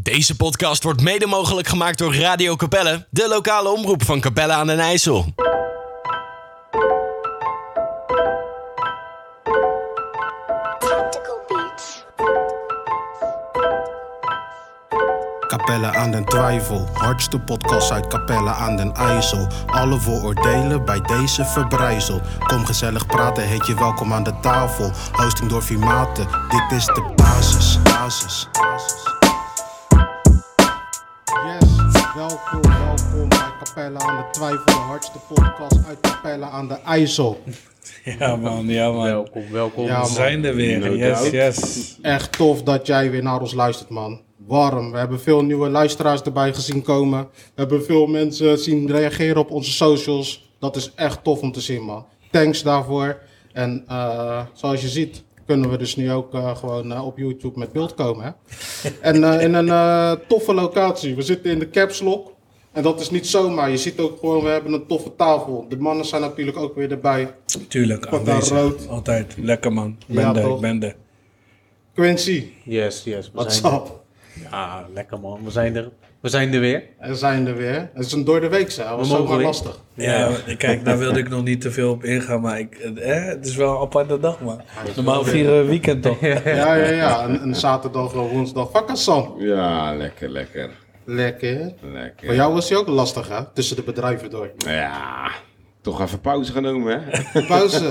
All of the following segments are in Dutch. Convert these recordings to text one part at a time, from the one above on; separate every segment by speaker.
Speaker 1: Deze podcast wordt mede mogelijk gemaakt door Radio Capelle, de lokale omroep van Capelle aan den IJssel.
Speaker 2: Tactical Beats.
Speaker 3: Capelle aan den Twijfel, hardste podcast uit Capelle aan den IJssel. Alle vooroordelen bij deze verbrijzel. Kom gezellig praten, heet je welkom aan de tafel. Hosting door vier maten, dit is de basis. basis. Yes, welkom, welkom bij Capelle aan de Twijfel, de hardste podcast uit Capelle aan de IJssel.
Speaker 4: Ja man, ja man.
Speaker 5: Welkom, welkom.
Speaker 3: Ja,
Speaker 4: We
Speaker 3: man.
Speaker 4: zijn er weer.
Speaker 5: No
Speaker 4: yes,
Speaker 5: doubt.
Speaker 4: yes.
Speaker 3: Echt tof dat jij weer naar ons luistert, man. Warm. We hebben veel nieuwe luisteraars erbij gezien komen. We hebben veel mensen zien reageren op onze socials. Dat is echt tof om te zien, man. Thanks daarvoor. En eh, zoals je ziet, kunnen we dus nu ook eh, gewoon eh, op YouTube met beeld komen. Hè? en eh, in een eh, toffe locatie. We zitten in de Caps Lock. En dat is niet zomaar. Je ziet ook gewoon, we hebben een toffe tafel. De mannen zijn natuurlijk ook weer erbij.
Speaker 4: Tuurlijk,
Speaker 3: Pak daar rood.
Speaker 4: aanwezig. Altijd. Lekker man. Ik Ben
Speaker 3: Ja,
Speaker 4: er,
Speaker 3: toch?
Speaker 4: ik ben er.
Speaker 3: Quincy,
Speaker 5: Yes, yes. We
Speaker 3: what's
Speaker 5: zijn er.
Speaker 3: up?
Speaker 5: Ja, lekker man. We zijn er. We zijn er weer.
Speaker 3: Er zijn er weer. Het is een door de week, hè? Dat was
Speaker 5: mogen
Speaker 3: zomaar
Speaker 5: weer.
Speaker 3: lastig.
Speaker 4: Ja, kijk, daar wilde ik nog niet te veel op ingaan, maar ik, eh, het is wel een aparte dag, man. Normaal vieren we weekend toch?
Speaker 3: Ja, ja, ja. Een, een zaterdag, een woensdag. Vakkersan.
Speaker 6: Ja, lekker, lekker.
Speaker 3: Lekker.
Speaker 6: lekker.
Speaker 3: Voor jou was die ook lastig, hè? Tussen de bedrijven door.
Speaker 6: Ja, toch even pauze genomen, hè?
Speaker 3: Pauze.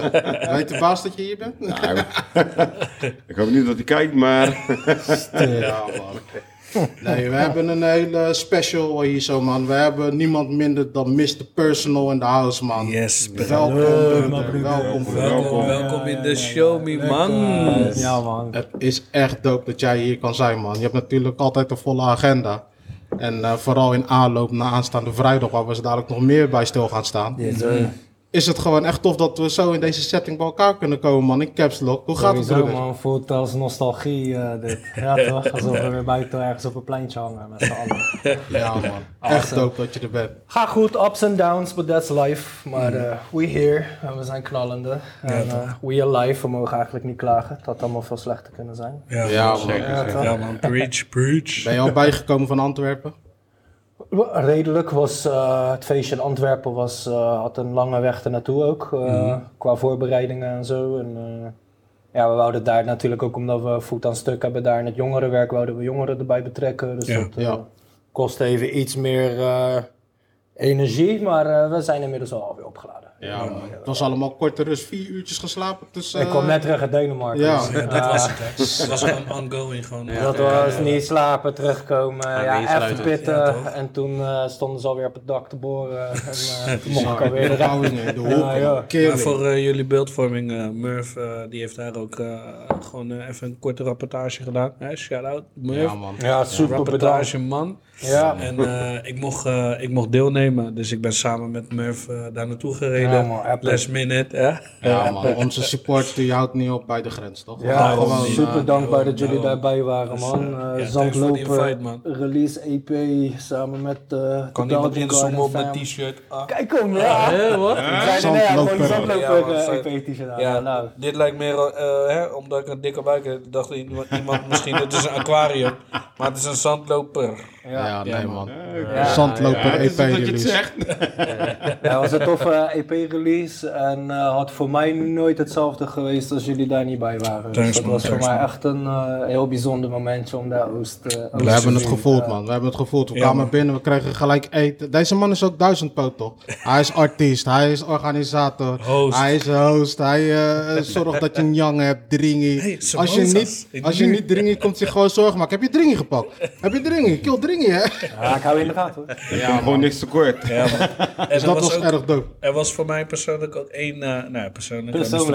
Speaker 3: Weet de baas dat je hier bent?
Speaker 6: Nou, ik hoop niet dat hij kijkt, maar...
Speaker 3: Ja, man. Nee, we hebben een hele special hier zo, man. We hebben niemand minder dan Mr. Personal in the house, man.
Speaker 4: Yes,
Speaker 3: Welkom, broeder. Welkom, broeder.
Speaker 4: welkom, welkom in de show, me man.
Speaker 7: Ja, man.
Speaker 3: Het is echt dope dat jij hier kan zijn, man. Je hebt natuurlijk altijd een volle agenda. En eh, vooral in aanloop naar aanstaande vrijdag, waar we ze dadelijk nog meer bij stil gaan staan.
Speaker 7: Mm.
Speaker 3: Is eh, het gewoon echt tof dat we zo in deze setting bij elkaar kunnen komen, man. In Caps Lock. Hoe gaat het,
Speaker 7: Sowieso,
Speaker 3: broeder?
Speaker 7: man. Voelt als nostalgie eh, dit. Ja, toch? Alsof we weer buiten ergens op een pleintje hangen met z'n allen.
Speaker 3: Ja, man. Echt dope dat je er bent.
Speaker 7: Ga goed, ups en downs, but that's life. Maar
Speaker 3: Mm.
Speaker 7: eh, we here, en we zijn knallende. En eh, we alive, we mogen eigenlijk niet klagen. Het had allemaal veel slechter kunnen zijn.
Speaker 4: Ja,
Speaker 3: Ja,
Speaker 4: ja,
Speaker 3: man.
Speaker 7: Ja, toch?
Speaker 4: man. Preach, preach.
Speaker 3: Ben je al bijgekomen van Antwerpen?
Speaker 7: Redelijk was eh, het feestje in Antwerpen was, eh, had een lange weg ernaartoe ook. eh,
Speaker 4: Mhm.
Speaker 7: Qua voorbereidingen en zo. En, eh, ja, we wouden daar natuurlijk ook omdat we voet aan stuk hebben daar in het jongerenwerk, wouden we jongeren erbij betrekken. Dus
Speaker 4: Ja.
Speaker 7: dat eh,
Speaker 3: Ja.
Speaker 7: kost even iets meer eh, energie, maar eh, we zijn inmiddels al alweer opgeladen.
Speaker 3: Ja, man. Het was allemaal korte rust. Vier uurtjes geslapen tussen...
Speaker 7: Ik kwam net terug uit Denemarken.
Speaker 3: Eh, Ja.
Speaker 7: dus,
Speaker 4: Ja,
Speaker 7: eh,
Speaker 4: dat was het, hè. Het was gewoon ongoing, gewoon.
Speaker 7: dat was niet slapen, terugkomen, ja, even
Speaker 5: insluiten.
Speaker 7: pitten. en toen eh, stonden ze alweer op het dak te boren. En eh, toen mocht ik
Speaker 3: Alweer
Speaker 7: alweer
Speaker 3: de
Speaker 7: eruit.
Speaker 3: houding in de hoek.
Speaker 7: Ja, ja.
Speaker 4: Maar
Speaker 3: Killing.
Speaker 4: voor eh, jullie beeldvorming, eh, Murph, eh, die heeft daar ook eh, gewoon eh, even een korte rapportage gedaan. Hè, Shout-out, Murph.
Speaker 3: Ja, man.
Speaker 7: Ja, super bedankt.
Speaker 4: rapportage man.
Speaker 7: Ja.
Speaker 4: En eh, ik, mocht, eh, ik mocht deelnemen, dus ik ben samen met Murph eh, daar naartoe gereden.
Speaker 7: Ja, man, epic.
Speaker 4: Last minute, hè?
Speaker 3: Ja, man. Onze support die houdt niet op bij de grens, toch?
Speaker 7: Ja,
Speaker 3: Gewoon,
Speaker 7: gewoon
Speaker 3: eh,
Speaker 7: super dankbaar dat jullie
Speaker 4: daarom.
Speaker 7: daarbij waren, man.
Speaker 4: eh, ja,
Speaker 7: Eh
Speaker 4: thanks
Speaker 7: Zandlopen,
Speaker 4: voor die invite, man.
Speaker 7: release EP samen met eh de
Speaker 4: Kan iemand
Speaker 7: Belgian
Speaker 4: inzoomen op
Speaker 7: Garden
Speaker 4: mijn
Speaker 7: fam.
Speaker 4: t-shirt? Ah.
Speaker 7: Kijk om, ja.
Speaker 4: wat?
Speaker 7: Ja, gewoon die
Speaker 3: Zandloper.
Speaker 4: Ja,
Speaker 7: Zandloper
Speaker 4: man,
Speaker 7: eh,
Speaker 4: vet.
Speaker 7: EP t-shirt aan.
Speaker 4: Ja,
Speaker 7: Ja, nou.
Speaker 4: dit lijkt meer, eh, hè, omdat ik een dikke buik heb, dacht iemand, iemand misschien, het is een aquarium, maar het is een zandloper.
Speaker 3: Ja, nee, man.
Speaker 7: Ja.
Speaker 3: Zandloper
Speaker 6: het is
Speaker 3: EP
Speaker 6: goed dat je het
Speaker 3: release.
Speaker 6: zegt.
Speaker 7: Ja, het was een toffe eh, EP-release en eh, had voor mij nooit hetzelfde geweest als jullie daar niet bij waren. Dus
Speaker 4: Thanks,
Speaker 7: dat
Speaker 4: man,
Speaker 7: was voor
Speaker 4: thanks,
Speaker 7: mij echt een eh, heel bijzonder momentje om daar Oost, eh, Oost
Speaker 3: We hebben
Speaker 7: te
Speaker 3: het
Speaker 7: zien.
Speaker 3: gevoeld,
Speaker 7: Ja.
Speaker 3: man. We hebben het gevoeld. We
Speaker 4: Ja,
Speaker 3: kwamen
Speaker 4: man.
Speaker 3: binnen, we kregen gelijk eten. Deze man is ook duizendpoot, toch? Hij is artiest, hij is organisator,
Speaker 4: Host.
Speaker 3: hij is host. Hij eh, zorgt dat je een jang hebt, dringy.
Speaker 4: Hey, samosas.
Speaker 3: als, je niet,
Speaker 4: Ik
Speaker 3: als je
Speaker 4: nu.
Speaker 3: niet dringy komt, zich gewoon zorgen maken. Heb je dringy gepakt? Heb je dringy? Kill dringy, hè?
Speaker 7: Ja, ik hou je in de gaten hoor.
Speaker 6: Ik kom gewoon niks tekort.
Speaker 4: Ja, man. En
Speaker 3: Dus
Speaker 4: er
Speaker 3: dat was
Speaker 4: ook-
Speaker 3: erg dope.
Speaker 4: Er was voor mij persoonlijk ook één, eh nou persoonlijk,
Speaker 7: Persoonlijk.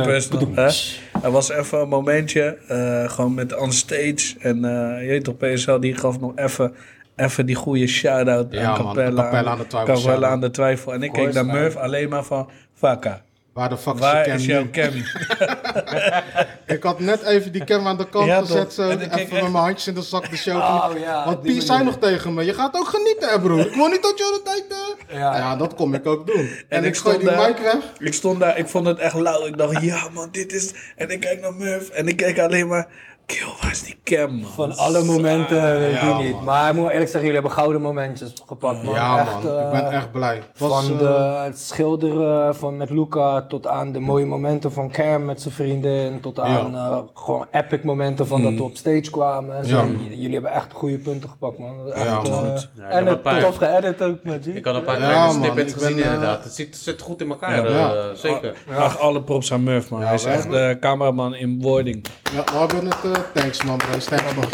Speaker 4: persoonlijk. personal, hè. er was even een momentje, eh, gewoon met onstage en eh je weet toch, PSL die gaf nog even, even die goede shout-out
Speaker 3: Ja,
Speaker 4: aan
Speaker 3: man,
Speaker 4: Capella,
Speaker 3: Capella aan de Twijfel
Speaker 4: Capella
Speaker 3: shout-out.
Speaker 4: aan de twijfel. En ik keek naar Murph alleen maar van, Vaka,
Speaker 3: Waar de fuck
Speaker 4: waar
Speaker 3: is
Speaker 4: is
Speaker 3: je cam
Speaker 4: jouw
Speaker 3: nu?
Speaker 4: Cammy?
Speaker 3: Ik had net even die cam aan de kant
Speaker 4: Ja, toch?
Speaker 3: gezet, zo.
Speaker 4: En ik
Speaker 3: Even
Speaker 4: keek
Speaker 3: met
Speaker 4: echt-
Speaker 3: mijn handjes in de zak de show.
Speaker 7: Oh, ja,
Speaker 3: Want
Speaker 7: op die
Speaker 3: Pies zei nog
Speaker 7: manier.
Speaker 3: tegen me, je gaat ook genieten, hè, broer. Ik wil niet dat je de tijd... eh."
Speaker 7: Ja.
Speaker 3: ja, dat kom ik ook doen. En, ik,
Speaker 4: ik
Speaker 3: gooi
Speaker 4: stond
Speaker 3: die
Speaker 4: daar.
Speaker 3: mic weg.
Speaker 4: Ik stond daar, ik vond het echt lauw. Ik dacht, ja man, dit is... En ik kijk naar Murph en ik kijk alleen maar... kill, waar is die cam, man?
Speaker 7: Van alle momenten weet ik
Speaker 3: ja,
Speaker 7: niet.
Speaker 3: man.
Speaker 7: Maar ik moet eerlijk zeggen, jullie hebben gouden momentjes gepakt. Man.
Speaker 3: Ja,
Speaker 7: echt,
Speaker 3: man.
Speaker 7: eh,
Speaker 3: ik ben echt blij. Het Was,
Speaker 7: van
Speaker 3: eh,
Speaker 7: de, het schilderen van met Luca tot aan de mooie momenten van Cam met zijn vrienden. Tot aan eh, gewoon epic momenten van dat we op stage kwamen. En zo.
Speaker 3: Mm. Ja.
Speaker 7: J- Jullie hebben echt goede punten gepakt, man. Echt,
Speaker 3: Ja, man.
Speaker 7: eh,
Speaker 5: Ja, ik
Speaker 7: en
Speaker 5: heb een
Speaker 7: het
Speaker 5: paar-
Speaker 7: tof geëdit ook, man.
Speaker 5: Ik had een paar
Speaker 3: Ja,
Speaker 5: kleine
Speaker 3: man,
Speaker 5: snippets
Speaker 3: ik ben,
Speaker 5: gezien
Speaker 3: eh,
Speaker 5: inderdaad. Het zit, zit goed in elkaar, eh,
Speaker 3: Ja.
Speaker 5: zeker.
Speaker 4: Ach, alle props aan Murph, man. Hij is
Speaker 3: wij-
Speaker 4: echt de cameraman in wording.
Speaker 3: ja, we hebben het. eh, thanks, man. Bro. Thanks, man.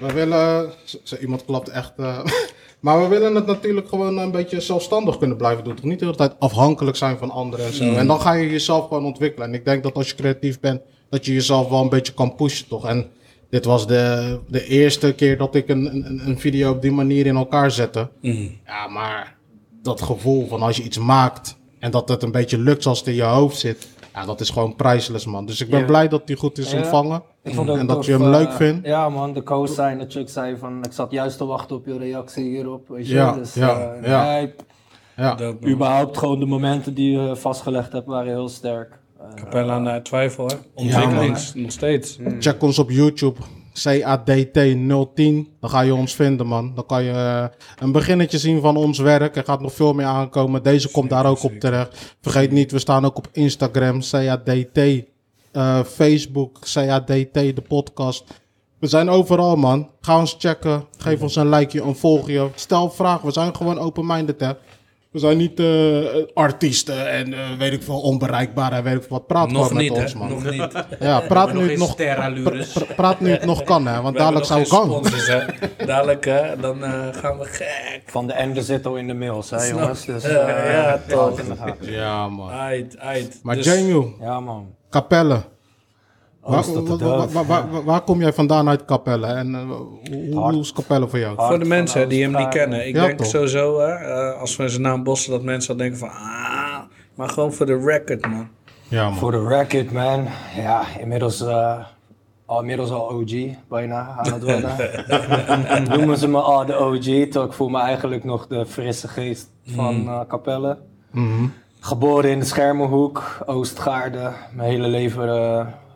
Speaker 3: We willen. z- z- iemand klapt echt. eh, maar we willen het natuurlijk gewoon een beetje zelfstandig kunnen blijven doen. Toch niet de hele tijd afhankelijk zijn van anderen en zo.
Speaker 7: Mm.
Speaker 3: En dan ga je jezelf gewoon ontwikkelen. En ik denk dat als je creatief bent, dat je jezelf wel een beetje kan pushen, toch? En dit was de, de eerste keer dat ik een, een, een video op die manier in elkaar zette.
Speaker 7: Mm.
Speaker 3: Ja, maar dat gevoel van als je iets maakt en dat het een beetje lukt zoals het in je hoofd zit. Ja, dat is gewoon priceless, man. Dus ik ben
Speaker 7: Ja.
Speaker 3: blij dat die goed is
Speaker 7: Ja.
Speaker 3: ontvangen.
Speaker 7: Ik vond ook
Speaker 3: en dat
Speaker 7: tof,
Speaker 3: je hem
Speaker 7: eh,
Speaker 3: leuk vindt.
Speaker 7: Ja, man, de co-sign dat Chuck zei van ik zat juist te wachten op je reactie hierop. Weet je?
Speaker 3: Ja,
Speaker 7: dus,
Speaker 3: ja,
Speaker 7: eh,
Speaker 3: ja.
Speaker 7: nee,
Speaker 3: Ja.
Speaker 4: Dope, man.
Speaker 7: überhaupt gewoon de momenten die je vastgelegd hebt waren heel sterk. Eh,
Speaker 4: Capella naar twijfel, hè? Ontwikkelings, nog steeds.
Speaker 3: Check ons op YouTube. CADT010. Dan ga je ons vinden, man. Dan kan je eh, een beginnetje zien van ons werk. Er gaat nog veel meer aankomen. Deze komt daar ook op terecht. Vergeet niet, we staan ook op Instagram. CADT. eh, Facebook. CADT, de podcast. We zijn overal, man. Ga ons checken. Geef ons een likeje, een volgje. Stel vragen. We zijn gewoon open-minded, hè. We zijn niet eh, artiesten en eh, weet ik veel, onbereikbaar en weet ik veel wat. Praat
Speaker 4: Nog
Speaker 3: gewoon met
Speaker 4: niet,
Speaker 3: ons,
Speaker 4: hè?
Speaker 3: man.
Speaker 4: Nog niet.
Speaker 3: Ja, praat nu
Speaker 5: nog
Speaker 3: het
Speaker 5: geen
Speaker 3: nog,
Speaker 5: sterallures.
Speaker 3: pra- pra- praat nu het nog kan, hè? Want
Speaker 4: We
Speaker 3: dadelijk zou
Speaker 4: hebben
Speaker 3: ik
Speaker 4: nog
Speaker 3: gaan.
Speaker 4: geen sponsors, hè. Dadelijk, hè, dan eh, gaan we gek.
Speaker 7: Van de Ender zit al in de mails, hè jongens. Dus,
Speaker 4: Ja,
Speaker 7: eh,
Speaker 4: ja,
Speaker 7: houd
Speaker 4: toch.
Speaker 7: in de gaten.
Speaker 3: Ja, man.
Speaker 4: Uit, uit.
Speaker 3: Maar
Speaker 4: Ah, Dus-
Speaker 3: Jamie,
Speaker 7: Ja, man.
Speaker 3: Capelle. Waar,
Speaker 7: Alles tot de
Speaker 3: waar- waar-
Speaker 7: dood.
Speaker 3: waar- waar- waar- waar kom jij vandaan uit Capelle? En eh, hoe, hoe
Speaker 7: Hard.
Speaker 3: is Capelle voor jou?
Speaker 7: Hard.
Speaker 4: Voor de
Speaker 7: van
Speaker 4: mensen die hem niet
Speaker 7: Australië.
Speaker 4: kennen. Ik
Speaker 3: Ja,
Speaker 4: denk
Speaker 3: toch?
Speaker 4: sowieso, hè, eh, als we zijn naam bossen, dat mensen dan denken van... Ah, maar gewoon voor de record, man.
Speaker 3: Ja, man.
Speaker 7: Voor de record, man. Ja, inmiddels, eh, al, inmiddels al OG bijna aan het worden. Noemen ze me al de OG, terwijl ik voel me eigenlijk nog de frisse geest van eh Capelle.
Speaker 3: Mhm.
Speaker 7: Geboren in de Schermenhoek, Oostgaarde. Mijn hele leven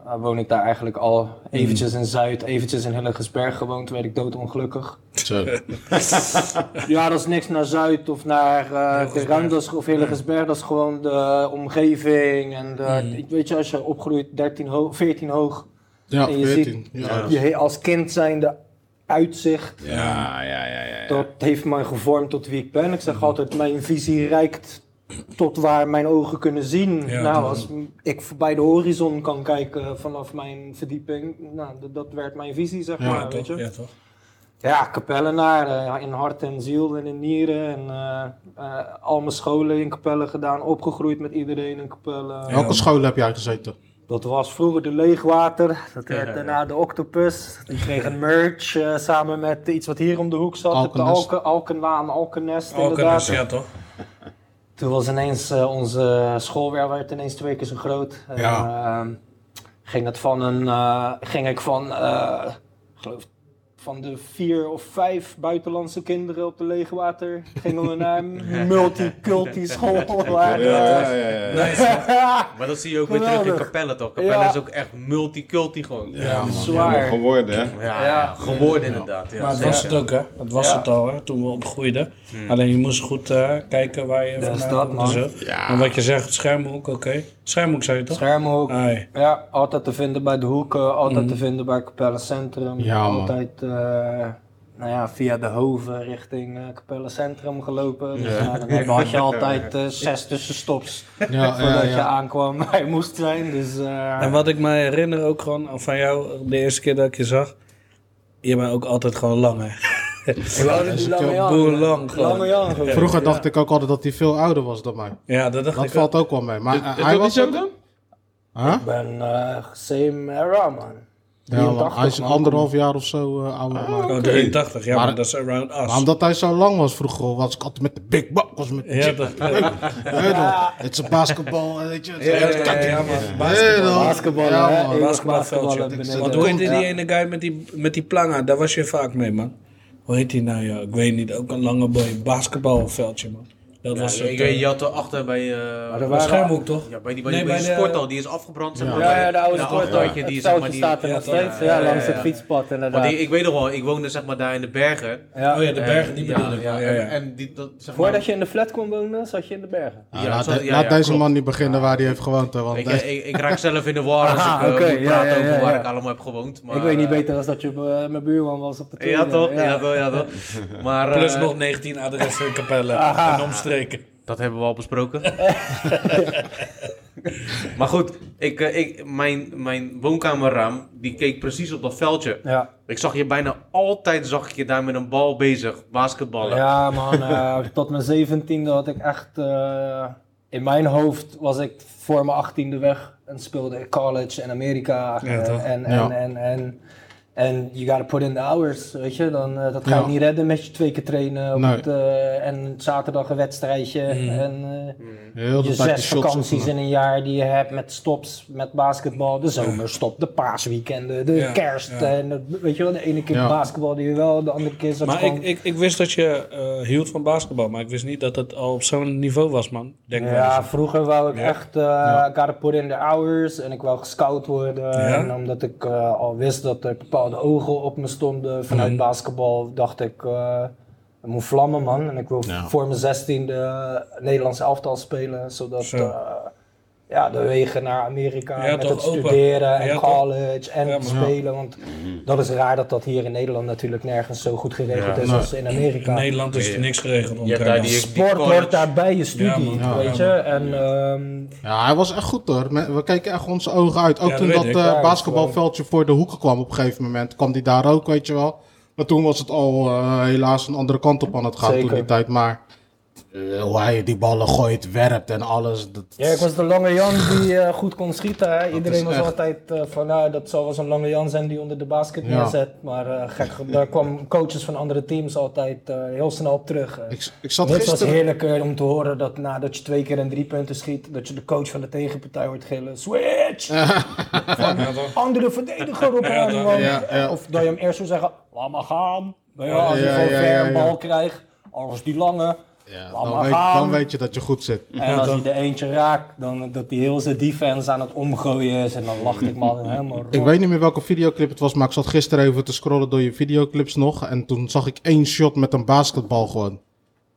Speaker 7: eh, woon ik daar eigenlijk al. Eventjes in Zuid, eventjes in Hilligersberg gewoond, werd ik doodongelukkig.
Speaker 3: Zo.
Speaker 7: Ja, dat is niks naar Zuid of naar eh de Randers of Hilligersberg. Dat is gewoon de omgeving. En de, ik Weet je, als je opgroeit 13 hoog, 14 hoog.
Speaker 3: Ja,
Speaker 7: en je
Speaker 3: 14.
Speaker 7: ziet
Speaker 3: Ja.
Speaker 7: je he- als kind zijnde uitzicht.
Speaker 6: Ja, ja, ja, ja.
Speaker 7: Dat heeft mij gevormd tot wie ik ben. Ik zeg altijd, mijn visie reikt tot waar mijn ogen kunnen zien.
Speaker 4: Ja,
Speaker 7: nou,
Speaker 4: dat-
Speaker 7: als m- ik voorbij de horizon kan kijken vanaf mijn verdieping. Nou, d- dat werd mijn visie, zeg
Speaker 3: Ja,
Speaker 7: maar,
Speaker 4: Ja,
Speaker 7: weet je.
Speaker 4: toch? Ja, toch?
Speaker 7: Ja, Capellenaar eh, in hart en ziel en in nieren. En, eh, eh, al mijn scholen in Capelle gedaan, opgegroeid met iedereen in Capelle.
Speaker 4: Ja.
Speaker 3: Welke school heb jij gezeten?
Speaker 7: Dat was vroeger de Leegwater, dat werd daarna de Octopus. Die kreeg een merch eh, samen met iets wat hier om de hoek zat, op de
Speaker 3: Alkennest.
Speaker 7: Alken, Alkenlaan, Alkennest
Speaker 4: Alcanis,
Speaker 7: inderdaad.
Speaker 4: ja, toch?
Speaker 7: Toen was ineens eh, onze school weer werd ineens twee keer zo groot. En,
Speaker 3: Ja.
Speaker 7: ehm, ging, het van een, eh, ging ik van, eh, ik geloof, van de vier of vijf buitenlandse kinderen op de Leegwater. Gingen we naar een multiculti school. waar-
Speaker 6: Ja, ja, ja, ja.
Speaker 5: Maar dat zie je ook weer terug in
Speaker 7: Geweldig.
Speaker 5: Capelle, toch? Capelle
Speaker 7: Ja.
Speaker 5: is ook echt multiculti gewoon. Ja,
Speaker 7: Zwaar.
Speaker 6: Geworden, hè?
Speaker 7: Ja.
Speaker 5: geworden inderdaad. Ja,
Speaker 4: Maar dat
Speaker 5: zeker.
Speaker 4: was het ook, hè? Dat was
Speaker 7: Ja.
Speaker 4: het al, hè? Toen we opgroeiden. Alleen je moest goed eh, kijken waar je
Speaker 7: Dat is
Speaker 4: vandaan
Speaker 7: dat,
Speaker 4: komt
Speaker 7: man.
Speaker 4: en zo. En wat je zegt, schermhoek, oké. Schermhoek zei je toch?
Speaker 7: Schermhoek.
Speaker 4: Ai.
Speaker 7: Ja, altijd te vinden bij de hoeken, altijd te vinden bij Capelle Centrum.
Speaker 3: Mhm. Ja, man.
Speaker 7: altijd eh, nou ja, via de hoven richting eh Capelle Centrum gelopen. Dus, ja. dan heb- had je altijd eh, zes tussenstops
Speaker 3: Ja, ja,
Speaker 7: voordat je
Speaker 3: ja.
Speaker 7: aankwam waar je moest zijn. Dus, eh,
Speaker 4: En wat ik me herinner ook gewoon van jou, de eerste keer dat ik je zag. Je bent ook altijd gewoon lang, hè?
Speaker 7: we hadden die lange Jan.
Speaker 4: boerenlang gewoon.
Speaker 7: Lange Jan gewoon.
Speaker 3: Vroeger dacht ik ook altijd dat hij veel ouder was dan mij.
Speaker 4: Ja, dat dacht
Speaker 3: Dat
Speaker 4: ik
Speaker 3: valt ook wel mee. Maar eh, hij
Speaker 6: dat
Speaker 3: was
Speaker 6: niet zo
Speaker 3: ook...
Speaker 6: dan?
Speaker 3: Huh?
Speaker 7: Ik ben eh same era, man.
Speaker 3: Ja, man. Hij is
Speaker 7: 83, man.
Speaker 3: anderhalf jaar of zo eh, ouder dan mij.
Speaker 4: ook. Oh, 83, ja, maar,
Speaker 3: Maar-
Speaker 4: dat is around us.
Speaker 3: Maar omdat hij zo lang was vroeger, was ik altijd met de big buck, was met de
Speaker 4: ja,
Speaker 3: chip.
Speaker 4: dat,
Speaker 3: Hey, dan. Het is een basketbal, eh, weet je.
Speaker 4: ja, ja, ja, ja, man.
Speaker 3: Hey, dan.
Speaker 7: Basketballen,
Speaker 3: Ja,
Speaker 7: hè?
Speaker 3: man.
Speaker 7: Eeuwig
Speaker 4: Basketbalveldje.
Speaker 7: basketballen beneden.
Speaker 4: Want hoe heet
Speaker 7: Ja.
Speaker 4: die ene guy met die, met die planga? Daar was je vaak mee, man. Hoe heet die nou, ja? Ik weet niet. Ook een lange boy. Basketbalveldje, man. Dat was het,
Speaker 5: ik
Speaker 4: eh,
Speaker 5: weet, je had er achter bij... eh,
Speaker 7: Maar er
Speaker 4: bij
Speaker 7: waren-
Speaker 4: Schermhoek, toch?
Speaker 5: ja, bij die, bij
Speaker 4: Nee,
Speaker 5: die, bij
Speaker 4: bij
Speaker 5: die
Speaker 4: de-
Speaker 5: sporthal, die is afgebrand. Zeg maar,
Speaker 2: Ja, ja, de oude
Speaker 5: Ja,
Speaker 2: sporthal.
Speaker 5: sporthaltje,
Speaker 2: Het
Speaker 5: die, zeg maar,
Speaker 2: touwtje
Speaker 5: die,
Speaker 2: staat er
Speaker 4: ja,
Speaker 2: nog
Speaker 4: toch?
Speaker 2: steeds,
Speaker 4: Ja,
Speaker 2: ja,
Speaker 4: ja,
Speaker 2: langs het
Speaker 4: ja.
Speaker 2: fietspad inderdaad.
Speaker 5: want die- ik weet nog wel, ik woonde zeg maar daar in de bergen.
Speaker 2: Ja.
Speaker 4: Oh ja, de bergen, die
Speaker 5: niet
Speaker 4: bedoel ik. wel, Ja, ja.
Speaker 5: En, en die, dat, zeg maar,
Speaker 2: Voordat je in de flat kon wonen, zat je in de bergen.
Speaker 5: Ja,
Speaker 3: laat
Speaker 5: zo-
Speaker 3: de-
Speaker 5: ja,
Speaker 3: laat
Speaker 5: ja,
Speaker 3: deze
Speaker 5: klopt.
Speaker 3: man niet beginnen waar hij heeft gewoond. hè, Want
Speaker 5: Ik, eh,
Speaker 3: deze-
Speaker 5: ik, ik raak zelf in de war als
Speaker 2: Ah,
Speaker 5: ik eh,
Speaker 2: oké,
Speaker 5: moet
Speaker 2: ja,
Speaker 5: praten
Speaker 2: ja, ja,
Speaker 5: over waar
Speaker 2: ja.
Speaker 5: ik allemaal heb gewoond. Maar,
Speaker 2: ik weet niet
Speaker 5: eh,
Speaker 2: beter als dat je eh, mijn buurman was op de toer.
Speaker 5: Ja toch? Ja toch, ja toch. Maar, eh,
Speaker 4: Plus nog 19 adressen in Capelle en omstreken.
Speaker 5: Dat hebben we al besproken. maar goed, ik, eh, ik, mijn, mijn woonkamerraam die keek precies op dat veldje.
Speaker 7: Ja,
Speaker 5: Ik zag je bijna altijd zag ik je daar met een bal bezig, basketballen.
Speaker 7: ja man, eh, tot mijn zeventiende had ik echt... eh, in mijn hoofd was ik voor mijn achttiende weg en speelde ik college en Amerika.
Speaker 4: Ja,
Speaker 7: eh,
Speaker 4: toch?
Speaker 7: en, en,
Speaker 3: Ja.
Speaker 7: en, en, en you gotta put in the hours, weet je. Dan, eh, dat ga
Speaker 3: Ja.
Speaker 7: je niet redden met je twee keer trainen. op
Speaker 3: Nee. Mm.
Speaker 7: het, eh, en zaterdag een wedstrijdje. En, eh,
Speaker 3: heel de
Speaker 7: je
Speaker 3: tijd die
Speaker 7: zes
Speaker 3: shots
Speaker 7: vakanties
Speaker 3: oefenen.
Speaker 7: in een jaar die je hebt met stops, met basketbal, de zomerstop, de paasweekenden, de
Speaker 4: Ja,
Speaker 7: kerst.
Speaker 4: ja.
Speaker 7: En de- weet je wel, de ene keer
Speaker 3: Ja.
Speaker 7: basketbal die je wel, de andere keer zat je
Speaker 4: Maar ik,
Speaker 7: gewoon...
Speaker 4: ik, ik wist dat je eh, hield van basketbal, maar ik wist niet dat het al op zo'n niveau was, man. Denk wel
Speaker 7: ja,
Speaker 4: eens.
Speaker 7: vroeger wou ik
Speaker 4: Ja.
Speaker 7: echt, eh gotta put in the hours en ik wou gescout worden. En omdat ik eh, al wist dat er bepaalde ogen op me stonden vanuit basketbal, dacht ik, eh ik moet vlammen man. En ik wil
Speaker 1: Ja.
Speaker 7: voor mijn zestiende Nederlands elftal spelen, zodat
Speaker 4: Zo.
Speaker 7: eh, ja, de wegen naar Amerika
Speaker 4: Ja,
Speaker 7: met
Speaker 4: toch,
Speaker 7: het
Speaker 4: open.
Speaker 7: studeren en
Speaker 4: Ja, toch.
Speaker 7: college en
Speaker 4: Ja,
Speaker 7: het
Speaker 4: man.
Speaker 7: spelen. Want dat is raar dat dat hier in Nederland natuurlijk nergens zo goed geregeld
Speaker 5: Ja.
Speaker 7: is
Speaker 3: Nee.
Speaker 7: als in Amerika.
Speaker 4: In Nederland is er niks geregeld om
Speaker 5: Je hebt
Speaker 4: trainers.
Speaker 5: daar die-
Speaker 7: Sport
Speaker 5: college.
Speaker 7: hoort daarbij je studie,
Speaker 4: Ja, man.
Speaker 7: weet je.
Speaker 4: Ja,
Speaker 7: En ehm,
Speaker 3: Ja, hij was echt goed hoor. Me- We keken echt onze ogen uit. Ook
Speaker 4: Ja,
Speaker 3: toen
Speaker 4: dat
Speaker 3: dat
Speaker 4: weet ik.
Speaker 3: eh,
Speaker 7: Ja, dat
Speaker 3: basketbalveldje voor de hoeken kwam op een gegeven moment. Kwam die daar ook, weet je wel. Maar toen was het al eh, helaas een andere kant op aan het gaan
Speaker 7: Zeker.
Speaker 3: toen die tijd. Maar eh, hoe hij die ballen gooit, werpt en alles. Dat,
Speaker 7: ja, ik was de lange Jan die eh, goed kon schieten. Hè.
Speaker 3: is
Speaker 7: Iedereen was
Speaker 3: echt-
Speaker 7: altijd eh, van, nou, dat zal wel zo'n lange Jan zijn die onder de basket
Speaker 3: Ja.
Speaker 7: neerzet. Maar eh, gek, genoeg, daar kwamen coaches van andere teams altijd eh, heel snel op terug. eh.
Speaker 3: ik, ik zat
Speaker 7: Niks was
Speaker 3: gisteren...
Speaker 7: heerlijker om te horen dat nadat je twee keer een drie punten schiet, dat je de coach van de tegenpartij hoort gillen. Switch! Van andere verdediger op hem. man.
Speaker 3: Ja, ja.
Speaker 7: Of dat je hem eerst zou zeggen, laat maar gaan. Nou ja, als je
Speaker 3: Ja,
Speaker 7: gewoon
Speaker 3: ja,
Speaker 7: ver
Speaker 3: ja,
Speaker 7: een
Speaker 3: ja.
Speaker 7: bal krijgt, anders die lange.
Speaker 3: Ja,
Speaker 7: Laat
Speaker 3: dan,
Speaker 7: maar
Speaker 3: weet,
Speaker 7: gaan.
Speaker 3: dan weet je dat je goed zit.
Speaker 7: En als hij er eentje raakt, dan eh, dat hij heel zijn defense aan het omgooien is. En dan lacht ik man helemaal rot.
Speaker 3: Ik weet niet meer welke videoclip het was, maar ik zat gisteren even te scrollen door je videoclips nog. En toen zag ik één shot met een basketbal gewoon.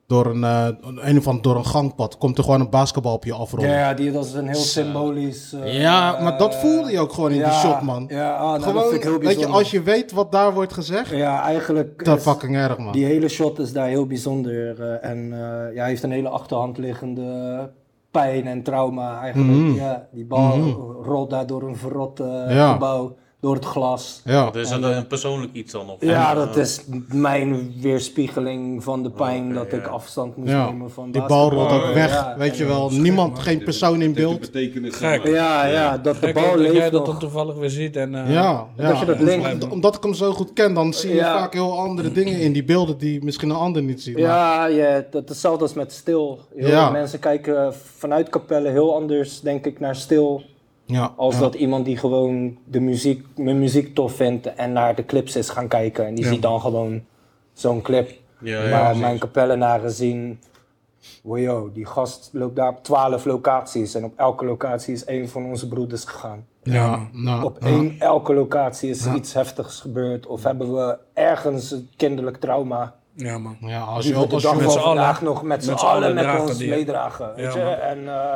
Speaker 3: Door een, eh, een, een of ander, door een gangpad. Komt er gewoon een basketbal op je afrollen.
Speaker 7: Ja, ja, die, dat is een heel symbolisch... eh,
Speaker 3: Ja, maar dat voelde je ook gewoon in die
Speaker 7: ja,
Speaker 3: shot, man.
Speaker 7: Ja, ah, nou, dat
Speaker 3: gewoon,
Speaker 7: vind ik heel
Speaker 3: weet
Speaker 7: bijzonder.
Speaker 3: je, als je weet wat daar wordt gezegd,
Speaker 7: Ja, eigenlijk...
Speaker 3: dat
Speaker 7: is-
Speaker 3: fucking erg, man.
Speaker 7: Die hele shot is daar heel bijzonder. eh, en eh, ja, hij heeft een hele achterhand liggende pijn en trauma eigenlijk.
Speaker 3: Mhm.
Speaker 7: Ja, die bal
Speaker 3: Mhm.
Speaker 7: rolt daar door een verrot eh,
Speaker 3: Ja.
Speaker 7: gebouw, door het glas.
Speaker 3: Ja,
Speaker 5: Dus dat een persoonlijk iets dan? Of,
Speaker 7: Ja,
Speaker 5: eh,
Speaker 7: dat is mijn weerspiegeling van de pijn
Speaker 5: Oké,
Speaker 7: dat ik
Speaker 5: ja.
Speaker 7: afstand moest
Speaker 3: Ja.
Speaker 7: nemen van
Speaker 3: die bal rolt
Speaker 7: basketbal.
Speaker 3: ook weg,
Speaker 7: Ja,
Speaker 3: weet je
Speaker 7: en-
Speaker 3: wel. Niemand, geen persoon in beeld.
Speaker 4: Gek.
Speaker 6: betekent.
Speaker 7: Ja, ja, dat de
Speaker 4: Gek
Speaker 7: bal
Speaker 4: dat jij dat
Speaker 7: leeft
Speaker 4: dan
Speaker 7: nog.
Speaker 4: toevallig weer ziet. En, eh,
Speaker 3: Ja, ja.
Speaker 7: dat je dat linkt.
Speaker 3: Om- Omdat ik hem zo goed ken, dan zie je
Speaker 7: Ja.
Speaker 3: vaak heel andere dingen in die beelden die misschien een ander niet ziet. maar-
Speaker 7: Ja, ja, dat is hetzelfde als met stil. Heel
Speaker 3: Ja.
Speaker 7: veel Mensen kijken eh, vanuit kapellen heel anders, denk ik, naar stil
Speaker 3: ja,
Speaker 7: Als
Speaker 3: ja.
Speaker 7: dat iemand die gewoon de muziek, mijn muziek tof vindt en naar de clips is gaan kijken. En die ziet dan gewoon zo'n clip.
Speaker 5: Ja,
Speaker 7: maar
Speaker 5: ja, precies.
Speaker 7: mijn kapellenaren zien, wow, die gast loopt daar op twaalf locaties. En op elke locatie is één van onze broeders gegaan.
Speaker 3: Ja,
Speaker 4: Ah,
Speaker 3: nou,
Speaker 7: Op
Speaker 3: ja.
Speaker 7: één, elke locatie is iets heftigs gebeurd. Of hebben we ergens een kinderlijk trauma.
Speaker 4: ja, man.
Speaker 3: Ja, als
Speaker 7: Die
Speaker 3: je,
Speaker 7: we de
Speaker 3: als je
Speaker 7: dag
Speaker 4: met
Speaker 7: van
Speaker 4: z'n allen-
Speaker 7: vandaag nog met z'n allen met
Speaker 4: dragen
Speaker 7: ons
Speaker 4: die-
Speaker 7: meedragen. Weet
Speaker 4: Ja,
Speaker 7: je?
Speaker 4: man.
Speaker 7: En, eh,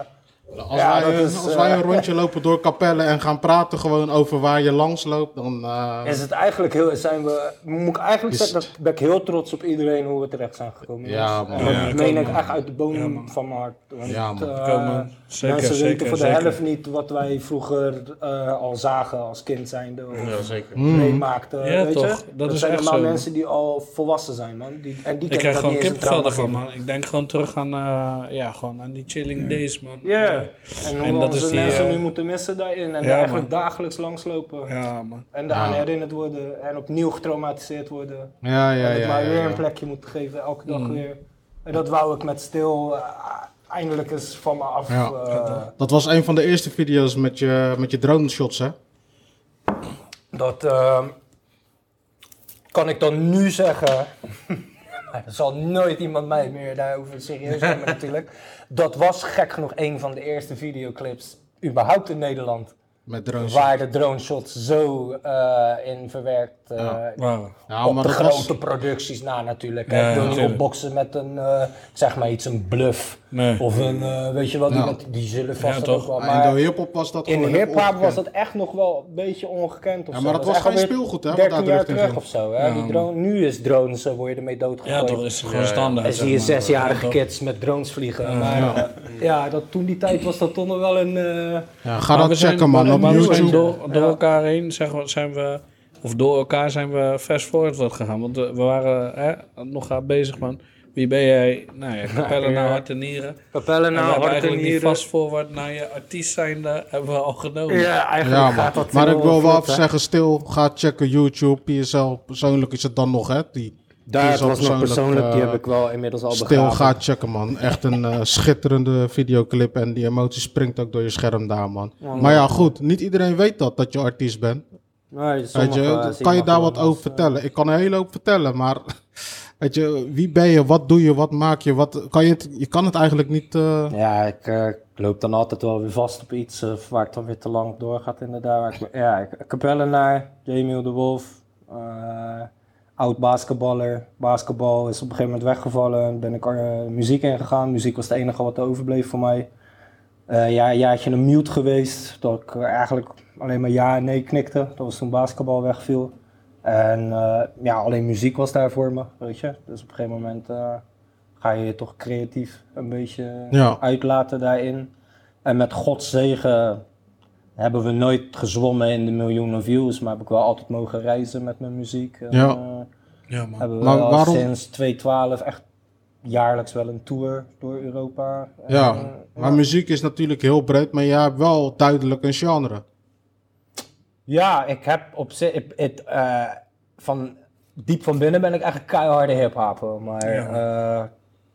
Speaker 3: Als,
Speaker 7: Ja,
Speaker 3: wij,
Speaker 7: dat
Speaker 3: een-
Speaker 7: is,
Speaker 3: als wij een
Speaker 7: eh,
Speaker 3: rondje lopen door Capelle en gaan praten gewoon over waar je langs loopt, dan... eh,
Speaker 7: Is het eigenlijk heel, zijn we, moet ik eigenlijk
Speaker 3: Is-
Speaker 7: zeggen, dat ben ik heel trots op iedereen hoe we terecht zijn gekomen.
Speaker 3: Ja,
Speaker 7: man.
Speaker 3: man.
Speaker 7: Dat
Speaker 4: Ja, ik
Speaker 7: meen
Speaker 4: ook,
Speaker 7: ik
Speaker 4: man.
Speaker 7: echt uit de
Speaker 4: Ja,
Speaker 7: bodem
Speaker 4: man.
Speaker 7: van mijn hart. Want,
Speaker 3: Ja, man.
Speaker 7: eh,
Speaker 4: Ik ook, man. Zeker,
Speaker 7: mensen
Speaker 4: zeker,
Speaker 7: weten voor de
Speaker 4: zeker.
Speaker 7: helft niet wat wij vroeger eh, al zagen als kind zijnde of
Speaker 5: Ja, zeker.
Speaker 3: Mm.
Speaker 7: meemaakten.
Speaker 4: Ja,
Speaker 7: weet
Speaker 4: toch.
Speaker 7: Je?
Speaker 4: Dat is
Speaker 7: zijn
Speaker 4: echt
Speaker 7: allemaal
Speaker 4: zo, man.
Speaker 7: mensen die al volwassen zijn, man. Die, en die
Speaker 4: Ik
Speaker 7: kennen
Speaker 4: krijg
Speaker 7: dat
Speaker 4: gewoon
Speaker 7: niet eens een trauma
Speaker 4: kippenvel ervan,
Speaker 7: geven.
Speaker 4: man. Ik denk gewoon terug aan, eh, ja, gewoon aan die chilling days, man.
Speaker 7: Ja, en
Speaker 4: En
Speaker 7: hoe
Speaker 4: dat
Speaker 7: onze
Speaker 4: is die,
Speaker 7: mensen
Speaker 4: eh,
Speaker 7: nu moeten missen daarin en
Speaker 4: ja,
Speaker 7: daar eigenlijk
Speaker 4: man.
Speaker 7: dagelijks langslopen
Speaker 4: Ja, man.
Speaker 7: en daaraan herinnerd worden en opnieuw getraumatiseerd worden.
Speaker 3: ja, ja,
Speaker 7: En
Speaker 3: ja,
Speaker 7: het maar
Speaker 3: ja,
Speaker 7: weer
Speaker 3: ja.
Speaker 7: een plekje moeten geven, elke dag weer. En dat wou ik met stil eh, eindelijk eens van me af.
Speaker 3: Ja.
Speaker 7: eh,
Speaker 3: Dat was een van de eerste video's met je, met je drone shots, hè?
Speaker 7: dat ehm, kan ik dan nu zeggen. maar dat zal nooit iemand mij meer daarover serieus nemen natuurlijk. Dat was gek genoeg een van de eerste videoclips überhaupt in Nederland.
Speaker 3: Met drones.
Speaker 7: Waar de drone shots zo eh, in verwerkt eh,
Speaker 3: Ja.
Speaker 4: Wauw.
Speaker 3: Ja,
Speaker 7: op
Speaker 3: maar
Speaker 7: de
Speaker 3: dat was-
Speaker 7: grote producties na natuurlijk.
Speaker 4: Ja,
Speaker 7: hè. ik wil niet
Speaker 4: natuurlijk.
Speaker 7: opboksen met een, eh, zeg maar iets, een bluff.
Speaker 4: Nee. Nou.
Speaker 7: Of een, eh, weet je wel, die,
Speaker 3: Ja.
Speaker 7: met- die zullen vast
Speaker 4: Ja,
Speaker 7: ook
Speaker 4: toch.
Speaker 7: wel.
Speaker 3: Maar in
Speaker 7: Maar
Speaker 3: de hip-hop was dat
Speaker 7: in
Speaker 3: gewoon
Speaker 7: hip-hop
Speaker 3: ongekend.
Speaker 7: was dat echt nog wel een beetje ongekend. Of
Speaker 3: Ja,
Speaker 7: zo.
Speaker 3: maar dat was
Speaker 7: echt
Speaker 3: geen
Speaker 7: alweer
Speaker 3: speelgoed, hè, wat
Speaker 7: 13
Speaker 3: daar
Speaker 7: jaar
Speaker 3: terug in
Speaker 7: terug
Speaker 3: ging.
Speaker 7: of zo. Hè? Die drone, nu is drones, zo word je ermee doodgegooid.
Speaker 4: Ja, toch is het gewoon
Speaker 5: Ja, ja.
Speaker 4: standaard.
Speaker 7: En
Speaker 4: zeg
Speaker 7: zie je
Speaker 4: maar.
Speaker 7: zesjarige
Speaker 4: Ja, toch.
Speaker 7: kids met drones vliegen. maar eh, ja, dat, toen die tijd was dat toch nog wel een... eh,
Speaker 3: Ja, ga
Speaker 4: Maar we
Speaker 3: dat
Speaker 4: zijn-
Speaker 3: checken, man.
Speaker 4: maar-
Speaker 3: Op
Speaker 4: maar we zijn
Speaker 3: YouTube.
Speaker 4: Door, door elkaar heen zeg maar, zijn we, of door elkaar zijn we fast forward wat gegaan. Want eh, we we waren hè, nog hard bezig, man. Wie ben jij? Nou ja, kapellen naar hart en nieren.
Speaker 7: Papellen
Speaker 4: En we hebben eigenlijk
Speaker 7: eh,
Speaker 4: die fast forward naar je artiest zijnde hebben we al genomen.
Speaker 7: Ja, eigenlijk
Speaker 3: Ja,
Speaker 7: gaat
Speaker 3: man.
Speaker 7: dat
Speaker 3: Maar
Speaker 7: heel
Speaker 3: ik wil wel
Speaker 7: vlot,
Speaker 3: even
Speaker 7: hè.
Speaker 3: zeggen, stil, ga checken YouTube, PSL. Persoonlijk is het dan nog, hè? Die,
Speaker 7: Daar,
Speaker 3: die is
Speaker 7: het
Speaker 3: al
Speaker 7: was nog persoonlijk, die
Speaker 3: eh,
Speaker 7: heb ik wel inmiddels al
Speaker 3: Stil,
Speaker 7: begraven.
Speaker 3: ga checken, man. Echt een eh, schitterende videoclip en die emotie springt ook door je scherm daar, man. Maar ja, goed, niet iedereen weet dat, dat je artiest bent.
Speaker 7: Nee,
Speaker 3: Weet
Speaker 7: sommige,
Speaker 3: je,
Speaker 7: eh, zie
Speaker 3: kan je
Speaker 7: nog
Speaker 3: daar
Speaker 7: wel
Speaker 3: wat
Speaker 7: als,
Speaker 3: over
Speaker 7: eh,
Speaker 3: vertellen? Ik kan een hele hoop vertellen, maar weet je, wie ben je, wat doe je, wat maak je, wat kan je het, je kan het eigenlijk niet. eh,
Speaker 7: Ja, ik eh, ik loop dan altijd wel weer vast op iets eh, waar het dan weer te lang op doorgaat inderdaad. Waar ik- ja, ik- eh, Capellenaar, Jamie de Wolf, eh, oud basketballer. Basketbal is op een gegeven moment weggevallen. Ben ik er muziek in gegaan. Muziek was het enige wat overbleef voor mij. Eh ja, een jaartje een mute geweest, dat ik eh, eigenlijk alleen maar ja en nee knikte. Dat was toen basketbal wegviel. En eh, ja, alleen muziek was daar voor me, weet je. Dus op een gegeven moment eh, ga je je toch creatief een beetje
Speaker 3: Ja.
Speaker 7: Oh. uitlaten daarin. En met Gods zegen hebben we nooit gezwommen in de miljoenen views, maar heb ik wel altijd mogen reizen met mijn muziek. En,
Speaker 3: Ja.
Speaker 7: eh,
Speaker 4: Ja, man.
Speaker 7: hebben we
Speaker 3: Maar
Speaker 7: al
Speaker 3: waarom-
Speaker 7: sinds 2012 echt jaarlijks wel een tour door Europa.
Speaker 3: ja,
Speaker 7: En, eh,
Speaker 3: maar muziek is natuurlijk heel breed, maar jij hebt wel duidelijk een genre.
Speaker 7: Ja, ik heb op zich. ik- het, eh, van diep van binnen ben ik eigenlijk keiharde hip-hopper. Maar eh,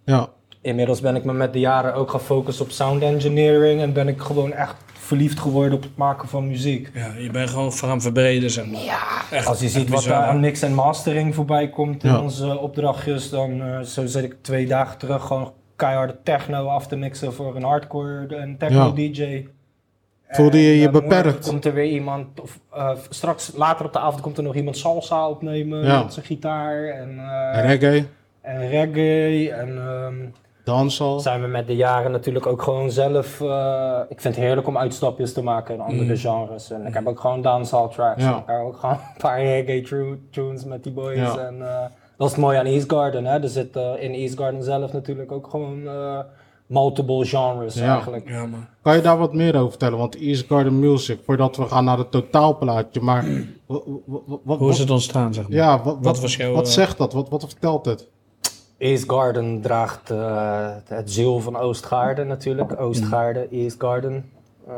Speaker 3: Ja,
Speaker 7: inmiddels ben ik me met de jaren ook gaan focussen op sound engineering. En ben ik gewoon echt verliefd geworden op het maken van muziek.
Speaker 4: Ja, je bent gewoon gaan verbreden, zeg maar.
Speaker 7: Ja,
Speaker 4: Echt,
Speaker 7: als je ziet
Speaker 4: echt
Speaker 7: wat
Speaker 4: bizar,
Speaker 7: daar
Speaker 4: hè?
Speaker 7: aan mix en mastering voorbij komt in
Speaker 3: Ja.
Speaker 7: onze opdrachtjes, dan eh, zo zit ik twee dagen terug gewoon keiharde techno af te mixen voor een hardcore en techno DJ.
Speaker 3: Voelde je
Speaker 7: En,
Speaker 3: je
Speaker 7: eh, morgen
Speaker 3: beperkt?
Speaker 7: Komt er weer iemand, of eh, straks later op de avond komt er nog iemand salsa opnemen
Speaker 3: Ja.
Speaker 7: met zijn gitaar en, eh,
Speaker 3: reggae,
Speaker 7: en reggae. En ehm,
Speaker 3: dancehall.
Speaker 7: zijn we met de jaren natuurlijk ook gewoon zelf. eh, ik vind het heerlijk om uitstapjes te maken in andere genres. En ik heb ook gewoon dancehall tracks.
Speaker 3: Mm. Ja.
Speaker 7: Ik heb ook gewoon een paar reggae tru- tunes met die boys.
Speaker 3: Ja.
Speaker 7: En eh, dat is het mooie aan East Garden. Hè? Er zit eh, in East Garden zelf natuurlijk ook gewoon eh, multiple genres
Speaker 3: Ja.
Speaker 7: eigenlijk.
Speaker 4: Ja, man.
Speaker 3: Kan je daar wat meer over vertellen? Want East Garden Music, voordat we gaan naar het totaalplaatje, maar... wa- wa- wa- wa-
Speaker 4: Hoe is
Speaker 3: wat-
Speaker 4: het ontstaan, zeg maar?
Speaker 3: Ja, wat,
Speaker 4: Wat
Speaker 3: wat,
Speaker 4: was jouw,
Speaker 3: wat
Speaker 4: eh,
Speaker 3: zegt dat? Wat, wat vertelt het?
Speaker 7: East Garden draagt eh, het ziel van Oostgaarden natuurlijk. Oostgaarden, East Garden. Eh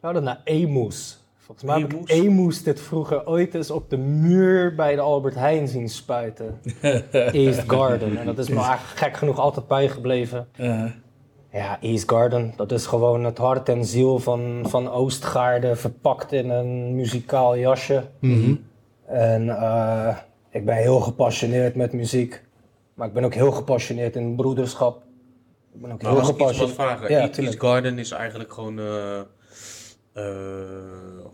Speaker 7: we hadden naar Emus. Volgens mij heb ik
Speaker 4: Emus?
Speaker 7: Emus dit vroeger ooit eens op de muur bij de Albert Heijn zien spuiten. East Garden. En dat is me eigenlijk gek genoeg altijd bijgebleven.
Speaker 4: Eh,
Speaker 7: Ja, East Garden. Dat is gewoon het hart en ziel van, van Oostgaarden verpakt in een muzikaal jasje. En eh, ik ben heel gepassioneerd met muziek. Maar ik ben ook heel gepassioneerd in broederschap. Ik ben ook
Speaker 5: Maar
Speaker 7: heel
Speaker 5: als ik iets
Speaker 7: gepassioneerd.
Speaker 5: wat vragen.
Speaker 7: Ja,
Speaker 5: Eat Eat
Speaker 7: tuurlijk.
Speaker 5: Garden is eigenlijk gewoon, eh, eh,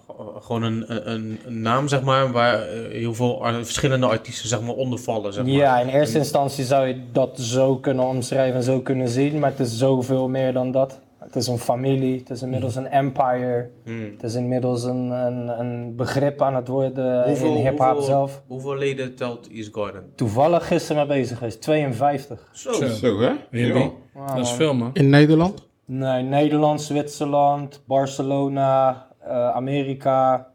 Speaker 5: g- gewoon een, een, een naam, zeg maar, waar eh, heel veel ar- verschillende artiesten zeg maar, onder vallen. Zeg maar.
Speaker 7: Ja, in eerste instantie zou je dat zo kunnen omschrijven en zo kunnen zien. Maar het is zoveel meer dan dat. Het is een familie, het is inmiddels een empire.
Speaker 5: Hmm.
Speaker 7: Het is inmiddels een, een, een begrip aan het worden
Speaker 5: Hoeveel-
Speaker 7: in hip-hop
Speaker 5: hoeveel-
Speaker 7: zelf.
Speaker 5: Hoeveel leden telt East Garden?
Speaker 7: Toevallig gisteren mee bezig geweest, 52.
Speaker 5: Zo.
Speaker 6: Zo, hè?
Speaker 4: Wimby.
Speaker 6: Ja.
Speaker 4: Dat is veel, man.
Speaker 3: In Nederland?
Speaker 7: Nee, Nederland, Zwitserland, Barcelona, eh, Amerika.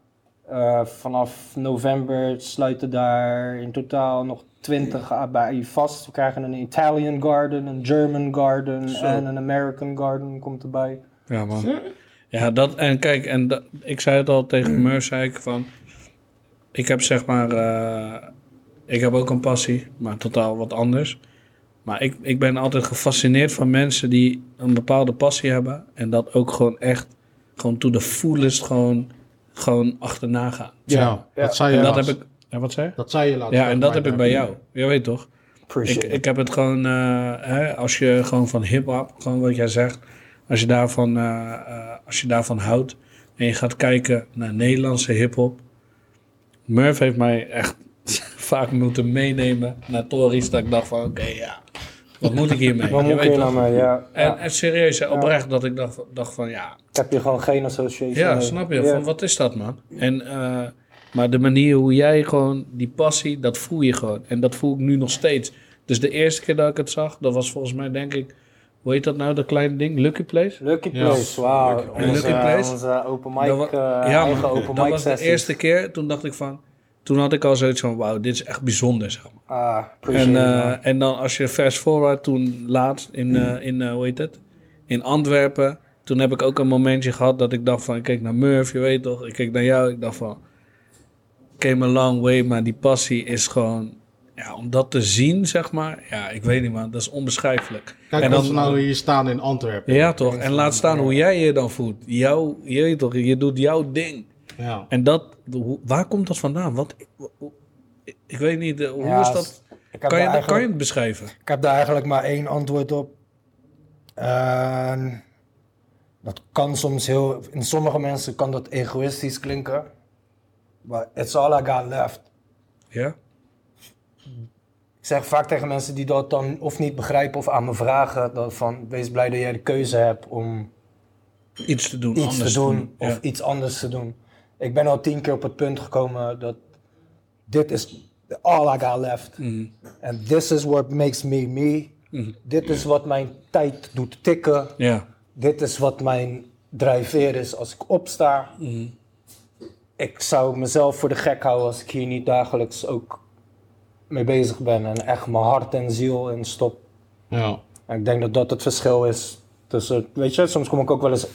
Speaker 7: Eh, vanaf november sluiten daar in totaal nog 20 a- bij vast. We krijgen een Italian Garden, een German Garden en een American Garden komt erbij.
Speaker 4: Ja, man. Ja, dat en kijk, en dat, ik zei het al tegen Meur, zei ik van. Ik heb zeg maar. eh, ik heb ook een passie, maar totaal wat anders. Maar ik, ik ben altijd gefascineerd van mensen die een bepaalde passie hebben. En dat ook gewoon echt, gewoon to the fullest, gewoon, gewoon achterna gaan.
Speaker 3: Ja, dat zei je
Speaker 4: En dat
Speaker 3: laatst.
Speaker 4: heb ik. En wat zei je?
Speaker 3: Dat zei je laatst.
Speaker 4: Ja, en dat
Speaker 3: volgens
Speaker 4: heb ik
Speaker 3: mij,
Speaker 4: bij
Speaker 3: ja.
Speaker 4: jou. Je weet toch? Ik, ik heb het gewoon, eh, hè, als je gewoon van hip-hop, gewoon wat jij zegt, als je, daarvan, eh, eh, als je daarvan houdt en je gaat kijken naar Nederlandse hip-hop. Murph heeft mij echt vaak moeten meenemen naar Tories, dat ik dacht van oké, ja, wat moet ik hiermee?
Speaker 8: Wat moet
Speaker 4: weet
Speaker 8: je
Speaker 4: toch?
Speaker 8: nou mee? Ja.
Speaker 4: en,
Speaker 8: Ja.
Speaker 4: en serieus, hè, oprecht, dat ik dacht, dacht van ja,
Speaker 8: Ik heb hier gewoon geen association.
Speaker 4: ja,
Speaker 8: mee.
Speaker 4: snap je?
Speaker 8: Ja.
Speaker 4: Van wat is dat, man? En, eh, maar de manier hoe jij gewoon die passie, dat voel je gewoon. En dat voel ik nu nog steeds. Dus de eerste keer dat ik het zag, dat was volgens mij, denk ik, hoe heet dat nou, dat kleine ding? Lucky Place?
Speaker 8: Lucky
Speaker 3: Ja.
Speaker 8: Place, wauw.
Speaker 4: Place.
Speaker 8: Onze,
Speaker 4: Lucky Place.
Speaker 8: onze open mic,
Speaker 4: Dat wa-
Speaker 8: eh eigen open
Speaker 4: dat
Speaker 8: mic
Speaker 4: was de
Speaker 8: sessies.
Speaker 4: eerste keer. Toen dacht ik van, toen had ik al zoiets van, wauw, dit is echt bijzonder, zeg maar.
Speaker 8: Ah,
Speaker 4: En,
Speaker 8: appreciate
Speaker 4: eh,
Speaker 8: it, man.
Speaker 4: en dan als je fast forward, toen laatst in, eh, in eh, hoe heet het? In Antwerpen. Toen heb ik ook een momentje gehad dat ik dacht van, ik keek naar Murph, je weet toch? Ik keek naar jou, ik dacht van, came a long way, maar die passie is gewoon, ja, om dat te zien, zeg maar. Ja, ik weet niet, man, dat is onbeschrijfelijk.
Speaker 3: Kijk
Speaker 4: en
Speaker 3: als we nou hier staan in Antwerpen.
Speaker 4: Ja, toch? En laat staan hoe jij je dan voelt. Jou, je weet toch, je doet jouw ding.
Speaker 3: Ja.
Speaker 4: En dat, hoe- waar komt dat vandaan? Wat, ik weet niet, eh, hoe
Speaker 7: Ja,
Speaker 4: is dat?
Speaker 7: Ik heb,
Speaker 4: Kan je, kan
Speaker 7: daar
Speaker 4: je
Speaker 7: eigenlijk,
Speaker 4: het beschrijven?
Speaker 7: ik heb daar eigenlijk maar één antwoord op. En dat kan soms heel... In sommige mensen kan dat egoïstisch klinken. Maar it's all I got left.
Speaker 4: Ja?
Speaker 7: Ik zeg vaak tegen mensen die dat dan of niet begrijpen of aan me vragen... Dat van, wees blij dat jij de keuze hebt om
Speaker 4: Iets te doen,
Speaker 7: iets
Speaker 4: anders
Speaker 7: te doen of
Speaker 4: Ja.
Speaker 7: iets anders te doen. Ik ben al tien keer op het punt gekomen dat dit is all I got left. And this is what makes me me. Dit is wat mijn tijd doet tikken.
Speaker 4: Ja,
Speaker 7: Dit is wat mijn drijfveer is als ik opsta. Ik zou mezelf voor de gek houden als ik hier niet dagelijks ook mee bezig ben. En echt mijn hart en ziel in stop.
Speaker 3: Ja.
Speaker 7: En ik denk dat dat het verschil is tussen, weet je, soms kom ik ook wel eens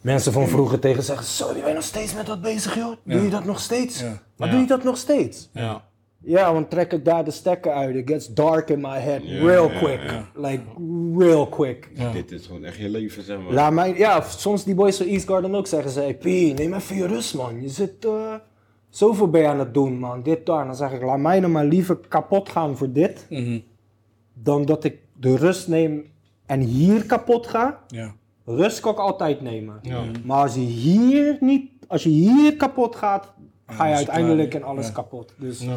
Speaker 7: mensen van vroeger tegen zeggen, zo, die ben je nog steeds met dat bezig, joh? Doe je dat nog steeds?
Speaker 4: Ja.
Speaker 7: Maar
Speaker 3: Ja.
Speaker 7: doe je dat nog steeds?
Speaker 3: Ja.
Speaker 7: Ja, want trek ik daar de stekker uit, it gets dark in my head real quick. Like, real quick.
Speaker 6: Dit is gewoon echt je leven, zeg maar.
Speaker 7: Laat mij, ja, soms die boys van East Garden ook zeggen ze, hey, P, neem even je rust, man. Je zit, eh, zoveel ben je aan het doen, man. Dit, daar. En Dan zeg ik, laat mij nou maar liever kapot gaan voor dit,
Speaker 5: Mhm.
Speaker 7: dan dat ik de rust neem en hier kapot ga.
Speaker 4: ja.
Speaker 7: Rust kan ik altijd nemen.
Speaker 3: Ja.
Speaker 5: Mhm.
Speaker 7: Maar als je hier niet, als je hier kapot gaat, ga je
Speaker 4: is
Speaker 7: uiteindelijk
Speaker 4: klaar.
Speaker 7: in alles
Speaker 4: Ja.
Speaker 7: kapot. Dus
Speaker 3: Ja.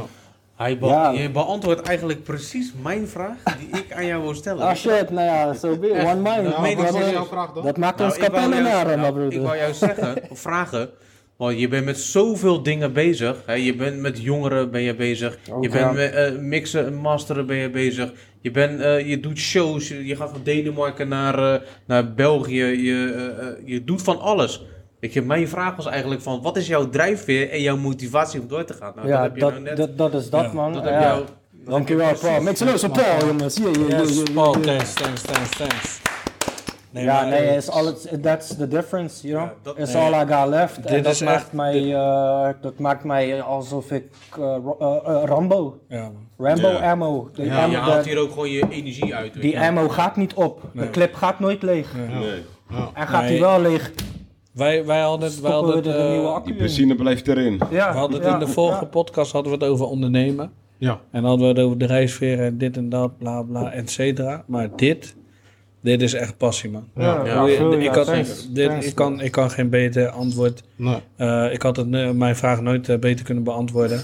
Speaker 5: Hij be-
Speaker 7: Ja.
Speaker 5: Je beantwoordt eigenlijk precies mijn vraag die ik aan jou wil stellen.
Speaker 7: ah shit, nou ja, zo be it. One mind.
Speaker 3: Ja,
Speaker 5: meen ik
Speaker 3: wat
Speaker 5: serieus.
Speaker 3: was jouw vraag dan?
Speaker 7: dat maakt
Speaker 5: Nou,
Speaker 7: ons
Speaker 5: ik wou
Speaker 7: kapellen
Speaker 5: juist-
Speaker 7: naar,
Speaker 5: nou, Ik
Speaker 7: mijn broeder.
Speaker 5: wou jou zeggen, of vragen, want je bent met zoveel dingen bezig. Hè? Je bent met jongeren ben je bezig.
Speaker 7: Ook,
Speaker 5: je
Speaker 7: ja.
Speaker 5: bent met eh, mixen en masteren ben je bezig. Je, bent, eh, je doet shows, je, je gaat van Denemarken naar, eh, naar België. Je, eh, eh, je doet van alles. Weet je, mijn vraag was eigenlijk van, wat is jouw drijfveer en jouw motivatie om door te gaan? Nou,
Speaker 7: Ja,
Speaker 5: dat heb je
Speaker 7: dat,
Speaker 5: nou net.
Speaker 7: dat, dat is dat,
Speaker 4: Ja,
Speaker 7: man.
Speaker 5: dat
Speaker 7: Ja.
Speaker 5: heb jou-
Speaker 7: Dankjewel, Paul. Make some noise for Paul, jongens. Yeah, yeah, yeah, yeah,
Speaker 4: Oh,
Speaker 7: yeah.
Speaker 4: thanks, thanks, thanks, thanks. Nee,
Speaker 7: Ja,
Speaker 4: maar- eh,
Speaker 7: nee, eh, is alles, that's the difference, you know.
Speaker 5: Ja, dat-
Speaker 7: It's
Speaker 5: nee.
Speaker 7: all I got left. en
Speaker 4: Dit
Speaker 7: dat,
Speaker 4: is
Speaker 7: maakt
Speaker 4: echt-
Speaker 7: mij, eh, dat maakt mij alsof ik eh, Ro- eh, eh, Rambo,
Speaker 4: Ja, man.
Speaker 7: Rambo
Speaker 6: Ja.
Speaker 7: ammo. De
Speaker 5: Ja,
Speaker 7: ammo-
Speaker 5: je haalt
Speaker 7: de-
Speaker 5: hier ook gewoon je energie uit. weet
Speaker 7: die
Speaker 5: je.
Speaker 7: ammo gaat niet op. De clip gaat nooit leeg.
Speaker 6: Nee.
Speaker 7: En gaat
Speaker 4: Nee.
Speaker 7: die wel leeg,
Speaker 4: Wij, wij hadden het, wij
Speaker 7: stoppen we
Speaker 4: hadden,
Speaker 7: er
Speaker 4: het,
Speaker 7: een
Speaker 4: eh,
Speaker 7: nieuwe
Speaker 6: Die
Speaker 7: accu in.
Speaker 6: benzine blijft erin.
Speaker 7: Ja,
Speaker 4: we hadden het
Speaker 7: ja,
Speaker 4: in de vorige
Speaker 7: ja.
Speaker 4: podcast hadden we het over ondernemen.
Speaker 3: Ja.
Speaker 4: En hadden we het over de reisfeer en dit en dat, bla bla, et cetera. Maar dit, dit is echt passie, man.
Speaker 7: Ja,
Speaker 5: Ja,
Speaker 4: Ik-
Speaker 7: ja,
Speaker 4: ik, had,
Speaker 7: thanks.
Speaker 4: dit,
Speaker 7: Thanks,
Speaker 4: ik, kan, ik kan geen beter antwoord.
Speaker 3: Nee.
Speaker 4: Eh, ik had het, eh, mijn vraag nooit eh, beter kunnen beantwoorden.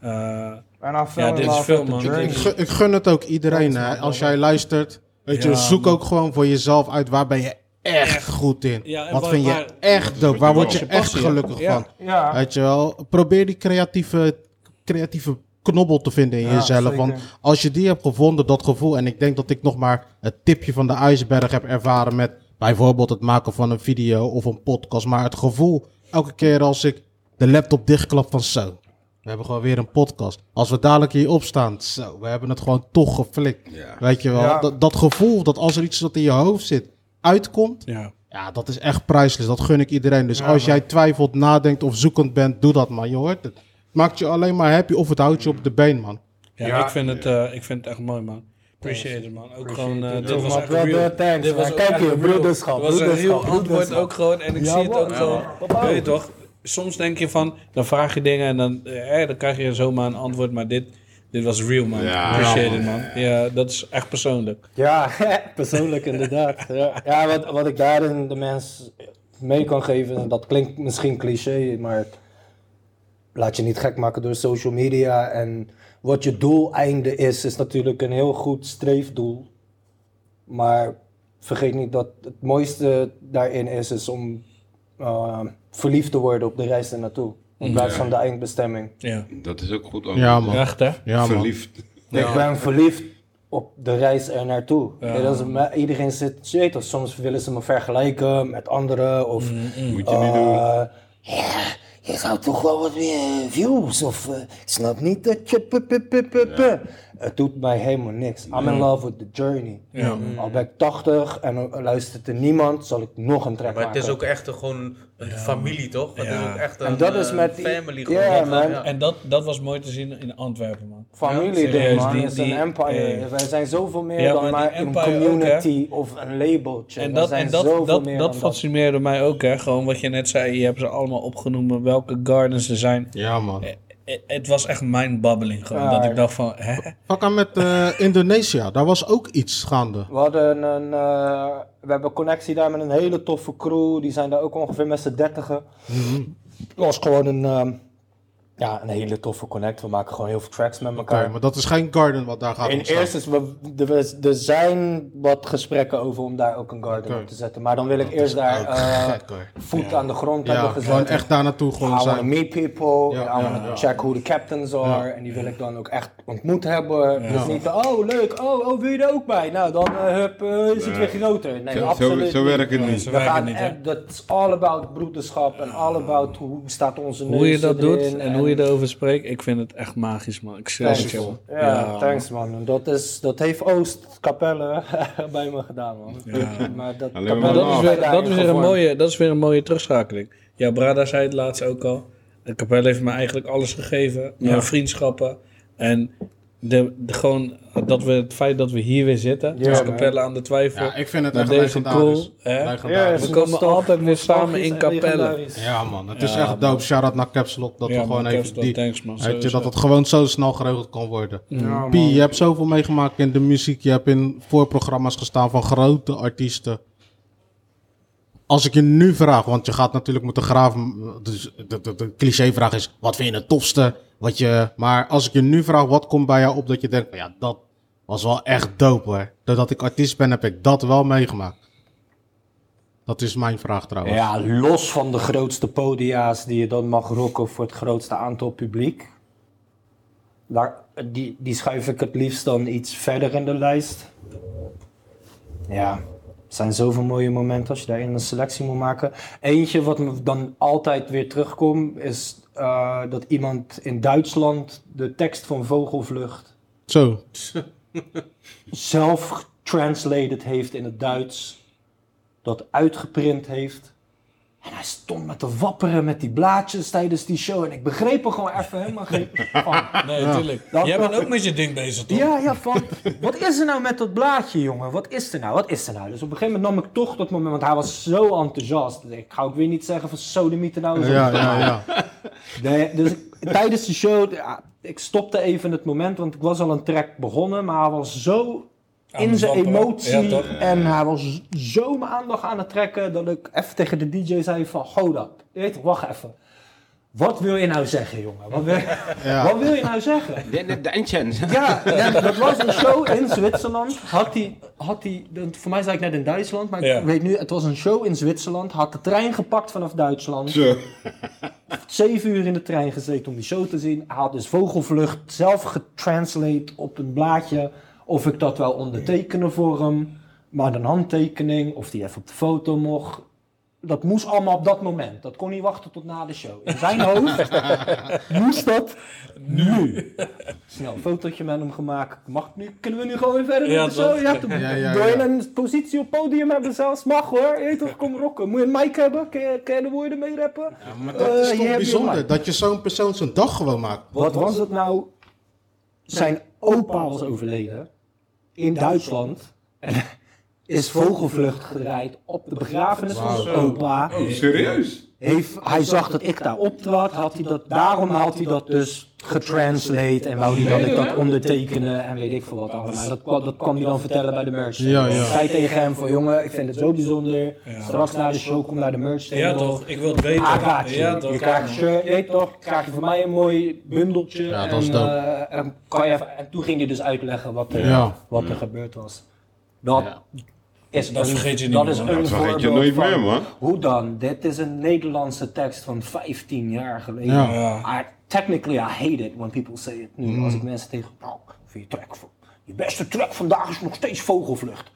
Speaker 4: Eh,
Speaker 7: En I fell
Speaker 4: Ja,
Speaker 7: in
Speaker 4: dit is
Speaker 7: love
Speaker 4: veel,
Speaker 7: with the
Speaker 4: man.
Speaker 7: journey.
Speaker 3: Ik, gun- ik gun het ook iedereen, hè. Als jij luistert, weet je,
Speaker 4: Ja,
Speaker 3: zoek
Speaker 4: man.
Speaker 3: ook gewoon voor jezelf uit waar ben je echt goed in.
Speaker 4: Ja, en
Speaker 3: Wat
Speaker 4: waar-
Speaker 3: vind je
Speaker 4: waar-
Speaker 3: echt dope? Waar word je
Speaker 4: Wat is je
Speaker 3: echt
Speaker 4: passie,
Speaker 3: gelukkig
Speaker 4: hè? Ja.
Speaker 3: van?
Speaker 7: Ja.
Speaker 3: Weet je wel, probeer die creatieve, creatieve knobbel te vinden in
Speaker 7: Ja,
Speaker 3: jezelf.
Speaker 7: zeker.
Speaker 3: Want als je die hebt gevonden, dat gevoel, en ik denk dat ik nog maar het tipje van de ijsberg heb ervaren met bijvoorbeeld het maken van een video of een podcast. Maar het gevoel, elke keer als ik de laptop dichtklap van zo, we hebben gewoon weer een podcast. Als we dadelijk hier opstaan, zo, we hebben het gewoon toch geflikt.
Speaker 6: Ja.
Speaker 3: Weet je wel,
Speaker 7: Ja.
Speaker 3: dat, dat gevoel dat als er iets dat in je hoofd zit uitkomt,
Speaker 4: ja.
Speaker 3: ja, dat is echt priceless. Dat gun ik iedereen. Dus als jij twijfelt, nadenkt of zoekend bent, doe dat man. Je hoort het. Maakt je alleen maar happy of het houdt je op de been, man.
Speaker 4: Ja,
Speaker 7: Ja.
Speaker 4: Ik, vind het, eh, ik vind het echt mooi, man. Appreciate it, man. Ook gewoon, eh, dit
Speaker 7: Yo,
Speaker 4: was
Speaker 7: man,
Speaker 4: echt
Speaker 7: wel
Speaker 4: real.
Speaker 7: door, thanks,
Speaker 4: Dit was
Speaker 7: man.
Speaker 4: ook
Speaker 7: Kijk
Speaker 4: echt
Speaker 7: hier,
Speaker 4: real.
Speaker 7: broederschap,
Speaker 4: Het was een heel
Speaker 7: broederschap,
Speaker 4: antwoord
Speaker 7: broederschap.
Speaker 4: ook gewoon. En ik
Speaker 7: Ja,
Speaker 4: zie het ook
Speaker 7: man.
Speaker 4: gewoon.
Speaker 7: Ja.
Speaker 4: Weet je eh, toch? Soms denk je van, dan vraag je dingen en dan, eh, dan krijg je zomaar een antwoord. Maar dit, Dit was real, man.
Speaker 6: Ja,
Speaker 4: Appreciate
Speaker 6: man.
Speaker 4: it, man. Ja, dat is echt persoonlijk.
Speaker 7: Ja, persoonlijk inderdaad. Ja, ja wat, wat ik daarin de mens mee kan geven, dat klinkt misschien cliché, maar laat je niet gek maken door social media. En wat je doeleinde is, is natuurlijk een heel goed streefdoel. Maar vergeet niet dat het mooiste daarin is, is om eh, verliefd te worden op de reis ernaartoe. In plaats van de eindbestemming.
Speaker 4: Ja.
Speaker 6: Dat is ook goed. ook.
Speaker 3: Ja, man.
Speaker 4: Echt, hè?
Speaker 3: Ja, man.
Speaker 6: Verliefd.
Speaker 7: Ik ben verliefd op de reis er naartoe. Dat is me- iedereen zit, je weet dat, soms willen ze me vergelijken met anderen. Of,
Speaker 4: Mm,
Speaker 6: Moet je niet doen.
Speaker 7: eh, ja, je zou toch wel wat meer views. Of eh, ik snap niet dat je. pu- pu- pu- pu- pu. Het doet mij helemaal niks. I'm in love with the journey.
Speaker 4: Mm.
Speaker 7: Al ben ik 80 en eh, luistert er niemand, zal ik nog een track
Speaker 5: Maar het
Speaker 7: maken.
Speaker 5: is ook echt een- gewoon een familie, toch? Het
Speaker 4: Ja.
Speaker 5: is ook echt een
Speaker 7: En dat is
Speaker 5: eh,
Speaker 7: met die-
Speaker 5: family.
Speaker 7: Ja,
Speaker 5: gewoon.
Speaker 7: man.
Speaker 4: En dat, dat was mooi te zien in Antwerpen, man.
Speaker 7: Familie, ding,
Speaker 4: serieus,
Speaker 7: man.
Speaker 4: die-
Speaker 7: Het is
Speaker 4: die-
Speaker 7: een empire.
Speaker 4: eh,
Speaker 7: Wij zijn zoveel meer
Speaker 4: Ja, maar die
Speaker 7: dan maar een
Speaker 4: empire ook,
Speaker 7: community of een labeltje.
Speaker 4: En
Speaker 7: Wij
Speaker 4: dat,
Speaker 7: zijn
Speaker 4: en dat,
Speaker 7: zoveel
Speaker 4: dat,
Speaker 7: meer
Speaker 4: dat
Speaker 7: dan dat.
Speaker 4: fascineerde mij ook, hè. Gewoon wat je net zei, je hebt ze allemaal opgenoemd, welke gardens er zijn.
Speaker 3: Ja, man.
Speaker 4: Eh, Het was echt mind-bubbling gewoon,
Speaker 7: Ja,
Speaker 4: dat
Speaker 7: Ah, ja.
Speaker 4: ik dacht van, hè?
Speaker 3: Pak aan met eh, Indonesië. Daar was ook iets gaande.
Speaker 7: We hadden een, eh, we hebben connectie daar met een hele toffe crew. Die zijn daar ook ongeveer met z'n dertigen. Het was gewoon een, ehm, ja, een hele toffe connect. We maken gewoon heel veel tracks met
Speaker 3: Oké,
Speaker 7: elkaar.
Speaker 3: maar dat is geen garden wat daar gaat
Speaker 7: In
Speaker 3: ontstaan.
Speaker 7: eerste is, we, er, er zijn wat gesprekken over om daar ook een garden
Speaker 3: Oké.
Speaker 7: op te zetten. Maar dan wil ik eerst daar
Speaker 3: Ook
Speaker 7: eh,
Speaker 3: gek, hoor.
Speaker 7: voet aan de grond
Speaker 3: Ja,
Speaker 7: hebben
Speaker 3: gewoon
Speaker 7: gezet.
Speaker 3: echt daar naartoe
Speaker 7: I
Speaker 3: gewoon
Speaker 7: want to
Speaker 3: zijn.
Speaker 7: meet people,
Speaker 3: Ja,
Speaker 7: and I
Speaker 3: ja,
Speaker 7: want to
Speaker 3: ja.
Speaker 7: check who the captains are. En die wil ik dan ook echt ontmoet hebben. Dus niet, oh leuk, oh, oh wil je er ook bij? Nou, dan eh, hup, eh, is het weer groter. Nee,
Speaker 6: Zo,
Speaker 7: absoluut
Speaker 6: zo, zo
Speaker 7: niet.
Speaker 6: werkt het niet.
Speaker 4: Ze
Speaker 7: We
Speaker 4: werken
Speaker 7: gaan
Speaker 4: niet, hè.
Speaker 7: echt, dat is all about broederschap en all about hoe staat onze neus
Speaker 4: Hoe je dat
Speaker 7: erin
Speaker 4: doet en, hoe je erover spreekt, ik vind het echt magisch, man. Ik zeg het
Speaker 7: Thanks.
Speaker 4: je,
Speaker 7: Ja,
Speaker 4: man.
Speaker 7: thanks man. En Dat, is, dat heeft Oost Capelle bij me gedaan man. Maar dat,
Speaker 6: Alleen maar
Speaker 7: Capelle
Speaker 4: Maar dat is,
Speaker 6: Nou,
Speaker 4: weer,
Speaker 7: mij
Speaker 4: dat, is weer een
Speaker 7: gevormd.
Speaker 4: mooie, dat is weer een mooie terugschakeling. Ja, Brada zei het laatst ook al. De kapel heeft me eigenlijk alles gegeven. Mijn vriendschappen. En de, de, gewoon dat we, het feit dat we hier weer zitten.
Speaker 7: Ja,
Speaker 4: als
Speaker 7: man.
Speaker 4: Capelle aan de twijfel.
Speaker 3: Ja, ik vind het
Speaker 4: met
Speaker 3: echt
Speaker 4: deze
Speaker 3: legendarisch.
Speaker 4: cool, hè?
Speaker 3: Legendarisch.
Speaker 4: we komen
Speaker 7: nostalgisch-
Speaker 4: altijd weer samen
Speaker 7: nostalgisch
Speaker 4: in
Speaker 7: en
Speaker 4: Capelle.
Speaker 7: legendarisch.
Speaker 3: Ja, man. Het is echt dope. Shout-out naar Caps Lock. Dat
Speaker 4: Ja,
Speaker 3: we gewoon
Speaker 4: man,
Speaker 3: even
Speaker 4: Capsule,
Speaker 3: die...
Speaker 4: thanks, man.
Speaker 3: Weet je,
Speaker 4: Sowieso.
Speaker 3: dat het gewoon zo snel geregeld kan worden.
Speaker 7: Ja,
Speaker 3: P, je hebt zoveel meegemaakt in de muziek. Je hebt in voorprogramma's gestaan van grote artiesten. Als ik je nu vraag, want je gaat natuurlijk moeten graven. Dus de, de, de clichévraag is: wat vind je het tofste? Wat je, maar als ik je nu vraag, wat komt bij jou op dat je denkt: ja, dat was wel echt dope hoor. Doordat ik artiest ben, heb ik dat wel meegemaakt. Dat is mijn vraag trouwens.
Speaker 7: Ja, los van de grootste podia's die je dan mag rocken voor het grootste aantal publiek. Daar, die, die schuif ik het liefst dan iets verder in de lijst. Ja, er zijn zoveel mooie momenten als je daarin een selectie moet maken. Eentje wat me dan altijd weer terugkomt is eh, dat iemand in Duitsland de tekst van Vogelvlucht
Speaker 3: Zo,
Speaker 7: zelf translated heeft in het Duits, dat uitgeprint heeft. En hij stond met te wapperen met die blaadjes tijdens die show. En ik begreep er gewoon even helemaal geen van.
Speaker 4: Nee, natuurlijk.
Speaker 7: Dat-
Speaker 4: Jij bent ook met je ding bezig, toch?
Speaker 7: Ja, ja, van wat is er nou met dat blaadje, jongen? Wat is er nou? Wat is er nou? Dus op een gegeven moment nam ik toch dat moment, want hij was zo enthousiast. Ik ga ook weer niet zeggen van sodemieten nou. eens op.
Speaker 3: ja, ja, ja.
Speaker 7: Nee, dus ik- tijdens de show, ja, ik stopte even het moment, want ik was al een track begonnen, maar hij was zo
Speaker 4: Aan
Speaker 7: in
Speaker 4: het
Speaker 7: zijn
Speaker 4: wapperen.
Speaker 7: emotie
Speaker 4: Ja, toch?
Speaker 7: en hij was zo mijn aandacht aan het trekken dat ik even tegen de DJ zei van, hold up, je weet, toch, wacht even. Wat wil je nou zeggen, jongen? Wat wil, wat wil je nou zeggen? Ja, ja, dat was een show in Zwitserland. Had die, had die, dat- voor mij zei ik net in Duitsland, maar
Speaker 4: Ja.
Speaker 7: ik weet nu, het was een show in Zwitserland. Had de trein gepakt vanaf Duitsland.
Speaker 6: Zo.
Speaker 7: Zeven uur in de trein gezeten om die show te zien. Hij had dus Vogelvlucht zelf getranslate op een blaadje. Of ik dat wel ondertekenen voor hem. Maar een handtekening, of die even op de foto mocht. Dat moest allemaal op dat moment. Dat kon niet wachten tot na de show. In zijn hoofd moest dat nu. Snel een fotootje met hem gemaakt. Mag, nu, kunnen we nu gewoon weer verder
Speaker 4: Ja,
Speaker 7: met de show?
Speaker 4: toch?
Speaker 7: Ja, toch?
Speaker 3: Ja, ja,
Speaker 7: Wil je
Speaker 3: ja.
Speaker 7: een positie op podium hebben zelfs? Mag hoor. Je weet toch, kom rocken. Moet je een mic hebben? Kun je, kun je de woorden mee rappen?
Speaker 3: Maar dat is
Speaker 7: Eh,
Speaker 3: toch
Speaker 7: je hebt je
Speaker 3: bijzonder
Speaker 7: mic.
Speaker 3: dat je zo'n persoon zijn dag gewoon maakt.
Speaker 7: Wat was het nou? Zijn opa was overleden in Duitsland. En is vogelvlucht gedraaid op de begrafenis van zijn opa.
Speaker 6: Oh, serieus?
Speaker 7: Heeft, hij zag dat ik daar optrad, had hij dat, daarom had hij dat dus getranslate en wou die dat ik dat ondertekenen en weet ik veel wat allemaal. Dat, kwam- dat kwam hij dan vertellen bij de merch.
Speaker 3: Ja, ja.
Speaker 7: Ik zei tegen hem van jongen, ik vind het zo bijzonder. Straks na de show kom naar de merch.
Speaker 4: Ja toch, ik wil het weten.
Speaker 7: Ah, kaartje.
Speaker 4: Ja
Speaker 7: je
Speaker 4: toch.
Speaker 7: krijgt een shirt, je weet toch, krijg je van mij een mooi bundeltje.
Speaker 3: Ja, dat
Speaker 7: en,
Speaker 3: is dope.
Speaker 7: eh, en, kan je even- en toen ging hij dus uitleggen wat er,
Speaker 3: Ja.
Speaker 7: wat er gebeurd was. Dat is
Speaker 4: Dat
Speaker 7: een-
Speaker 4: vergeet je niet,
Speaker 7: Dat is
Speaker 4: man.
Speaker 7: een
Speaker 6: Dat vergeet je
Speaker 7: voorbeeld
Speaker 6: nooit meer,
Speaker 7: van-
Speaker 6: man.
Speaker 7: hoe dan? Dit is een Nederlandse tekst van 15 jaar geleden.
Speaker 3: Ja. Mm.
Speaker 7: I, technically, I hate it when people say it nu. Als ik mensen tegen. Nou, vind je track van. Je beste track vandaag is nog steeds Vogelvlucht.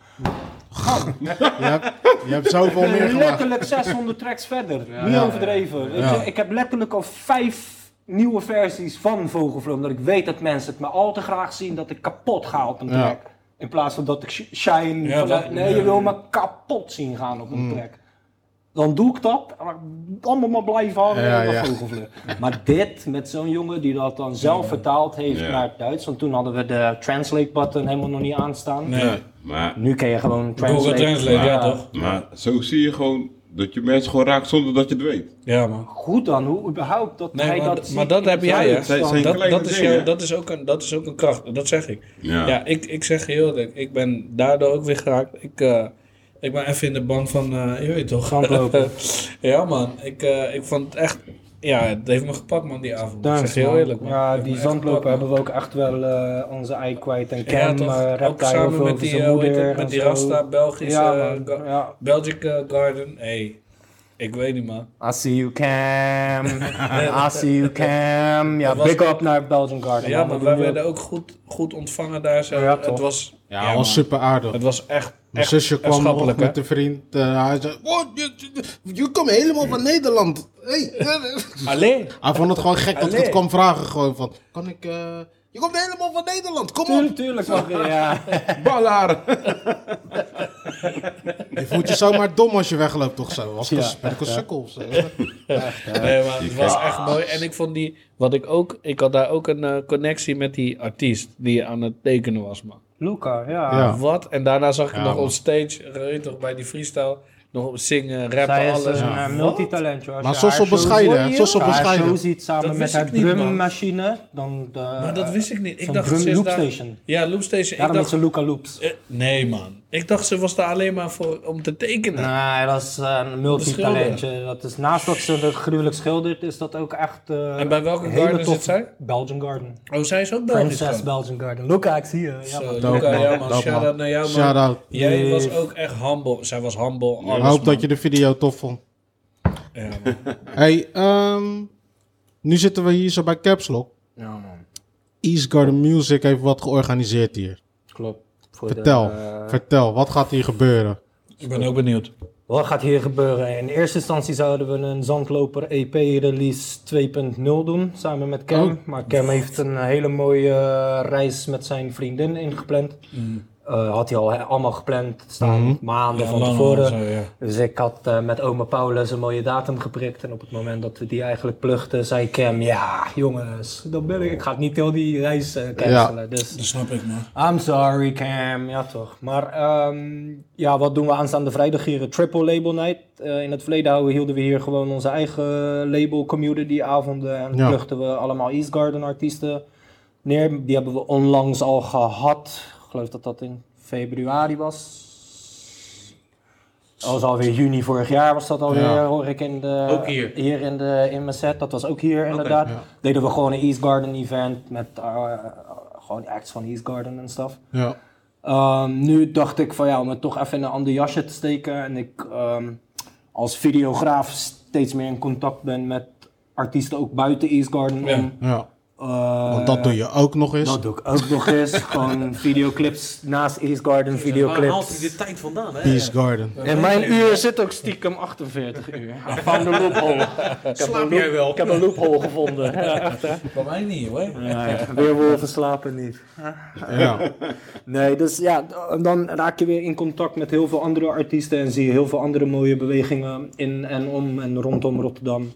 Speaker 3: Je hebt, je hebt zoveel meer gemaakt.
Speaker 7: Letterlijk 600 tracks verder. Niet overdreven. Weet je, ik heb letterlijk al vijf nieuwe versies van Vogelvlucht. Omdat ik weet dat mensen het me al te graag zien dat ik kapot ga op een
Speaker 3: Ja.
Speaker 7: track. In plaats van dat ik sh- shine.
Speaker 4: Ja,
Speaker 7: vanuit-
Speaker 4: dat-
Speaker 7: nee,
Speaker 4: ja.
Speaker 7: je wil me kapot zien gaan op
Speaker 3: Mm.
Speaker 7: een track. Dan doe ik dat. maar Allemaal maar blijven hangen
Speaker 3: Ja,
Speaker 7: en dan
Speaker 3: ja.
Speaker 7: vogelvlucht. Maar dit met zo'n jongen die dat dan zelf vertaald heeft
Speaker 6: Ja.
Speaker 7: naar het Duits. Want toen hadden we de translate button helemaal nog niet aanstaan.
Speaker 4: Nee,
Speaker 6: Maar,
Speaker 7: Nu kun je gewoon translate.
Speaker 4: Google Translate, ja toch.
Speaker 6: maar zo zie je gewoon dat je mensen gewoon raakt zonder dat je het weet.
Speaker 4: Ja man.
Speaker 7: Goed dan, hoe überhaupt dat
Speaker 4: Nee,
Speaker 7: hij
Speaker 4: maar-
Speaker 7: dat
Speaker 4: maar dat heb jij, hè?
Speaker 6: Zijn- zijn
Speaker 4: Dat,
Speaker 6: kleine
Speaker 4: dat, is,
Speaker 6: dingen.
Speaker 4: jou, dat, is ook een, dat is ook een kracht, dat zeg ik.
Speaker 6: Ja.
Speaker 4: Ja, ik, ik zeg je heel eerlijk, ik ben daardoor ook weer geraakt. Ik, eh, ik ben even in de band van, eh, je weet toch?
Speaker 7: Zandlopen.
Speaker 4: ja man, ik, eh, ik vond het echt, ja, het heeft me gepakt man die avond. ik zeg je heel eerlijk man. Het
Speaker 7: Ja,
Speaker 4: heeft
Speaker 7: die
Speaker 4: me echt
Speaker 7: zandloper
Speaker 4: gepakt, man.
Speaker 7: hebben we ook echt wel eh, onze ei kwijt. En
Speaker 4: Ja,
Speaker 7: Cam
Speaker 4: toch?
Speaker 7: ja,
Speaker 4: ook
Speaker 7: rapt daar heel
Speaker 4: samen
Speaker 7: veel
Speaker 4: met
Speaker 7: over
Speaker 4: die,
Speaker 7: zijn
Speaker 4: eh, hoe heet
Speaker 7: moeder
Speaker 4: het,
Speaker 7: en
Speaker 4: met die
Speaker 7: zo.
Speaker 4: Rasta, Belgische,
Speaker 7: Ja,
Speaker 4: eh,
Speaker 7: man,
Speaker 4: Ga-
Speaker 7: ja.
Speaker 4: Belgic eh, Garden. hey, ik weet niet man.
Speaker 7: I see you Cam, I see you Cam. Ja,
Speaker 4: was-
Speaker 7: big up naar Belgian Garden.
Speaker 4: Ja,
Speaker 7: man.
Speaker 4: maar
Speaker 7: Dat
Speaker 4: wij
Speaker 7: doen we
Speaker 4: werden ook goed, goed ontvangen daar zo.
Speaker 7: Ja,
Speaker 4: het
Speaker 7: toch.
Speaker 4: was,
Speaker 3: Ja,
Speaker 4: man.
Speaker 3: was super aardig.
Speaker 4: het was echt,
Speaker 3: Mijn
Speaker 4: echt
Speaker 3: zusje
Speaker 4: echt
Speaker 3: kwam nog
Speaker 4: schappelijk, hè?
Speaker 3: met een vriend. eh, hij zei, oh, je, je- je komt helemaal van Nederland. Hey.
Speaker 4: Alleen.
Speaker 3: hij vond het gewoon gek dat ik het
Speaker 4: Allee.
Speaker 3: kwam vragen. Gewoon van, kan ik... eh, je komt helemaal van Nederland, kom op.
Speaker 7: Tuurlijk, eh, tuurlijk. mag je, Ja.
Speaker 3: Ballaar. je voelt je zomaar dom als je wegloopt toch zo. Als ik een-
Speaker 7: Ja,
Speaker 3: ben ik een sukkel of zo.
Speaker 4: Nee, maar het was echt mooi. En ik vond die, wat ik ook, ik had daar ook een eh, connectie met die artiest die aan het tekenen was, man.
Speaker 7: Luca, ja.
Speaker 3: Ja.
Speaker 4: Wat? En daarna zag ik
Speaker 3: Ja,
Speaker 4: nog
Speaker 3: man.
Speaker 4: op stage, eh, weet je toch, bij die freestyle, nog op zingen, rappen,
Speaker 7: Zij is
Speaker 4: alles.
Speaker 7: een
Speaker 4: Wat?
Speaker 7: eh, multitalent. joh. Als
Speaker 3: Maar
Speaker 7: je
Speaker 3: soms
Speaker 7: haar
Speaker 3: op
Speaker 7: shows-
Speaker 3: bescheiden, hè?
Speaker 7: Als
Speaker 3: Soms
Speaker 7: je
Speaker 3: op
Speaker 7: haar
Speaker 3: bescheiden.
Speaker 7: show ziet samen
Speaker 4: Dat
Speaker 7: met
Speaker 4: wist
Speaker 7: haar
Speaker 4: ik niet, man.
Speaker 7: drummachine, dan... De,
Speaker 4: Maar dat wist ik niet. Ik
Speaker 7: zo'n
Speaker 4: dacht,
Speaker 7: drum
Speaker 4: ze is
Speaker 7: loop
Speaker 4: daar-
Speaker 7: station.
Speaker 4: Ja, Loopstation. Ik
Speaker 7: Daarom heet
Speaker 4: dacht,
Speaker 7: ze Luca Loops.
Speaker 4: eh, nee man, ik dacht ze was daar alleen maar voor om te tekenen.
Speaker 7: Nee, dat is eh, een multitalentje. Dat is naast dat ze dat gruwelijk schildert, is dat ook echt. eh,
Speaker 4: En bij welke
Speaker 7: een
Speaker 4: garden
Speaker 7: hele
Speaker 4: zit
Speaker 7: tof-
Speaker 4: zij?
Speaker 7: Belgian Garden.
Speaker 4: Oh, zij is ook Belgisch.
Speaker 7: Princess
Speaker 4: gewoon.
Speaker 7: Belgian Garden. Luca, ik zie je. Ja,
Speaker 4: Zo,
Speaker 7: man.
Speaker 4: Luca,
Speaker 3: Dope, man.
Speaker 4: ja man,
Speaker 3: Dope,
Speaker 4: shout-out
Speaker 3: man.
Speaker 4: naar jou man.
Speaker 3: Shout-out.
Speaker 4: Jij was ook echt humble. Zij was humble, alles
Speaker 3: Ik hoop
Speaker 4: man.
Speaker 3: dat je de video tof vond.
Speaker 4: Ja, man.
Speaker 3: Hey, ehm, nu zitten we hier zo bij Caps Lock.
Speaker 7: Ja, man.
Speaker 3: East Garden Music heeft wat georganiseerd hier.
Speaker 7: Klopt. Voor de,
Speaker 3: Vertel,
Speaker 7: eh,
Speaker 3: vertel, wat gaat hier gebeuren?
Speaker 4: Ik ben ook benieuwd.
Speaker 7: wat gaat hier gebeuren? In eerste instantie zouden we een Zandloper EP release 2.0 doen, samen met Cam.
Speaker 3: Oh.
Speaker 7: Maar Cam heeft een hele mooie eh, reis met zijn vriendin ingepland. Eh, had hij al he- allemaal gepland staan,
Speaker 4: Hmm.
Speaker 7: maanden
Speaker 4: Ja,
Speaker 7: van
Speaker 4: lang
Speaker 7: tevoren.
Speaker 4: al zo, ja.
Speaker 7: Dus ik had eh, met oma Paulus een mooie datum geprikt. En op het moment dat we die eigenlijk pluchten, zei Cam... Ja, jongens, dan ben ik... Ik ga niet heel die reis eh, cancelen. Dus
Speaker 4: Dat snap ik, man.
Speaker 7: I'm sorry, Cam. Ja, toch. Maar ehm, ja, wat doen we aanstaande vrijdag hier? Een Triple Label Night. Eh, in het verleden houden- hielden we hier gewoon onze eigen label community avonden. En
Speaker 3: Ja.
Speaker 7: pluchten we allemaal East Garden artiesten neer. Die hebben we onlangs al gehad. Ik geloof dat dat in februari was. Dat was alweer juni vorig jaar was dat alweer,
Speaker 3: Ja.
Speaker 7: hoor ik in de...
Speaker 5: Ook hier?
Speaker 7: in, de, in mijn set. Dat was ook hier inderdaad.
Speaker 3: Ja.
Speaker 7: Deden we gewoon een East Garden event met eh, gewoon acts van East Garden en stuff.
Speaker 3: Ja,
Speaker 7: Ehm, nu dacht ik van ja, om het toch even in een ander jasje te steken. En ik ehm, als videograaf steeds meer in contact ben met artiesten ook buiten East Garden.
Speaker 4: Ja.
Speaker 7: om,
Speaker 3: ja.
Speaker 7: eh,
Speaker 3: want dat doe je ook nog eens.
Speaker 7: dat doe ik ook nog eens. Gewoon videoclips naast East Garden,
Speaker 5: Waar haalt hij
Speaker 7: videoclips.
Speaker 5: de tijd vandaan, hè?
Speaker 3: East Garden.
Speaker 7: In mijn uur zit ook stiekem 48 uur. Ik heb een loophole. Ik heb
Speaker 5: Slaap
Speaker 7: een
Speaker 5: jij
Speaker 7: loop-
Speaker 5: wel?
Speaker 7: ik heb een loophole gevonden.
Speaker 4: Bij mij niet, hoor.
Speaker 7: Ja, ja. Weerwolven slapen niet.
Speaker 3: Ja.
Speaker 7: Nee, dus ja, dan raak je weer in contact met heel veel andere artiesten en zie je heel veel andere mooie bewegingen in en om en rondom Rotterdam.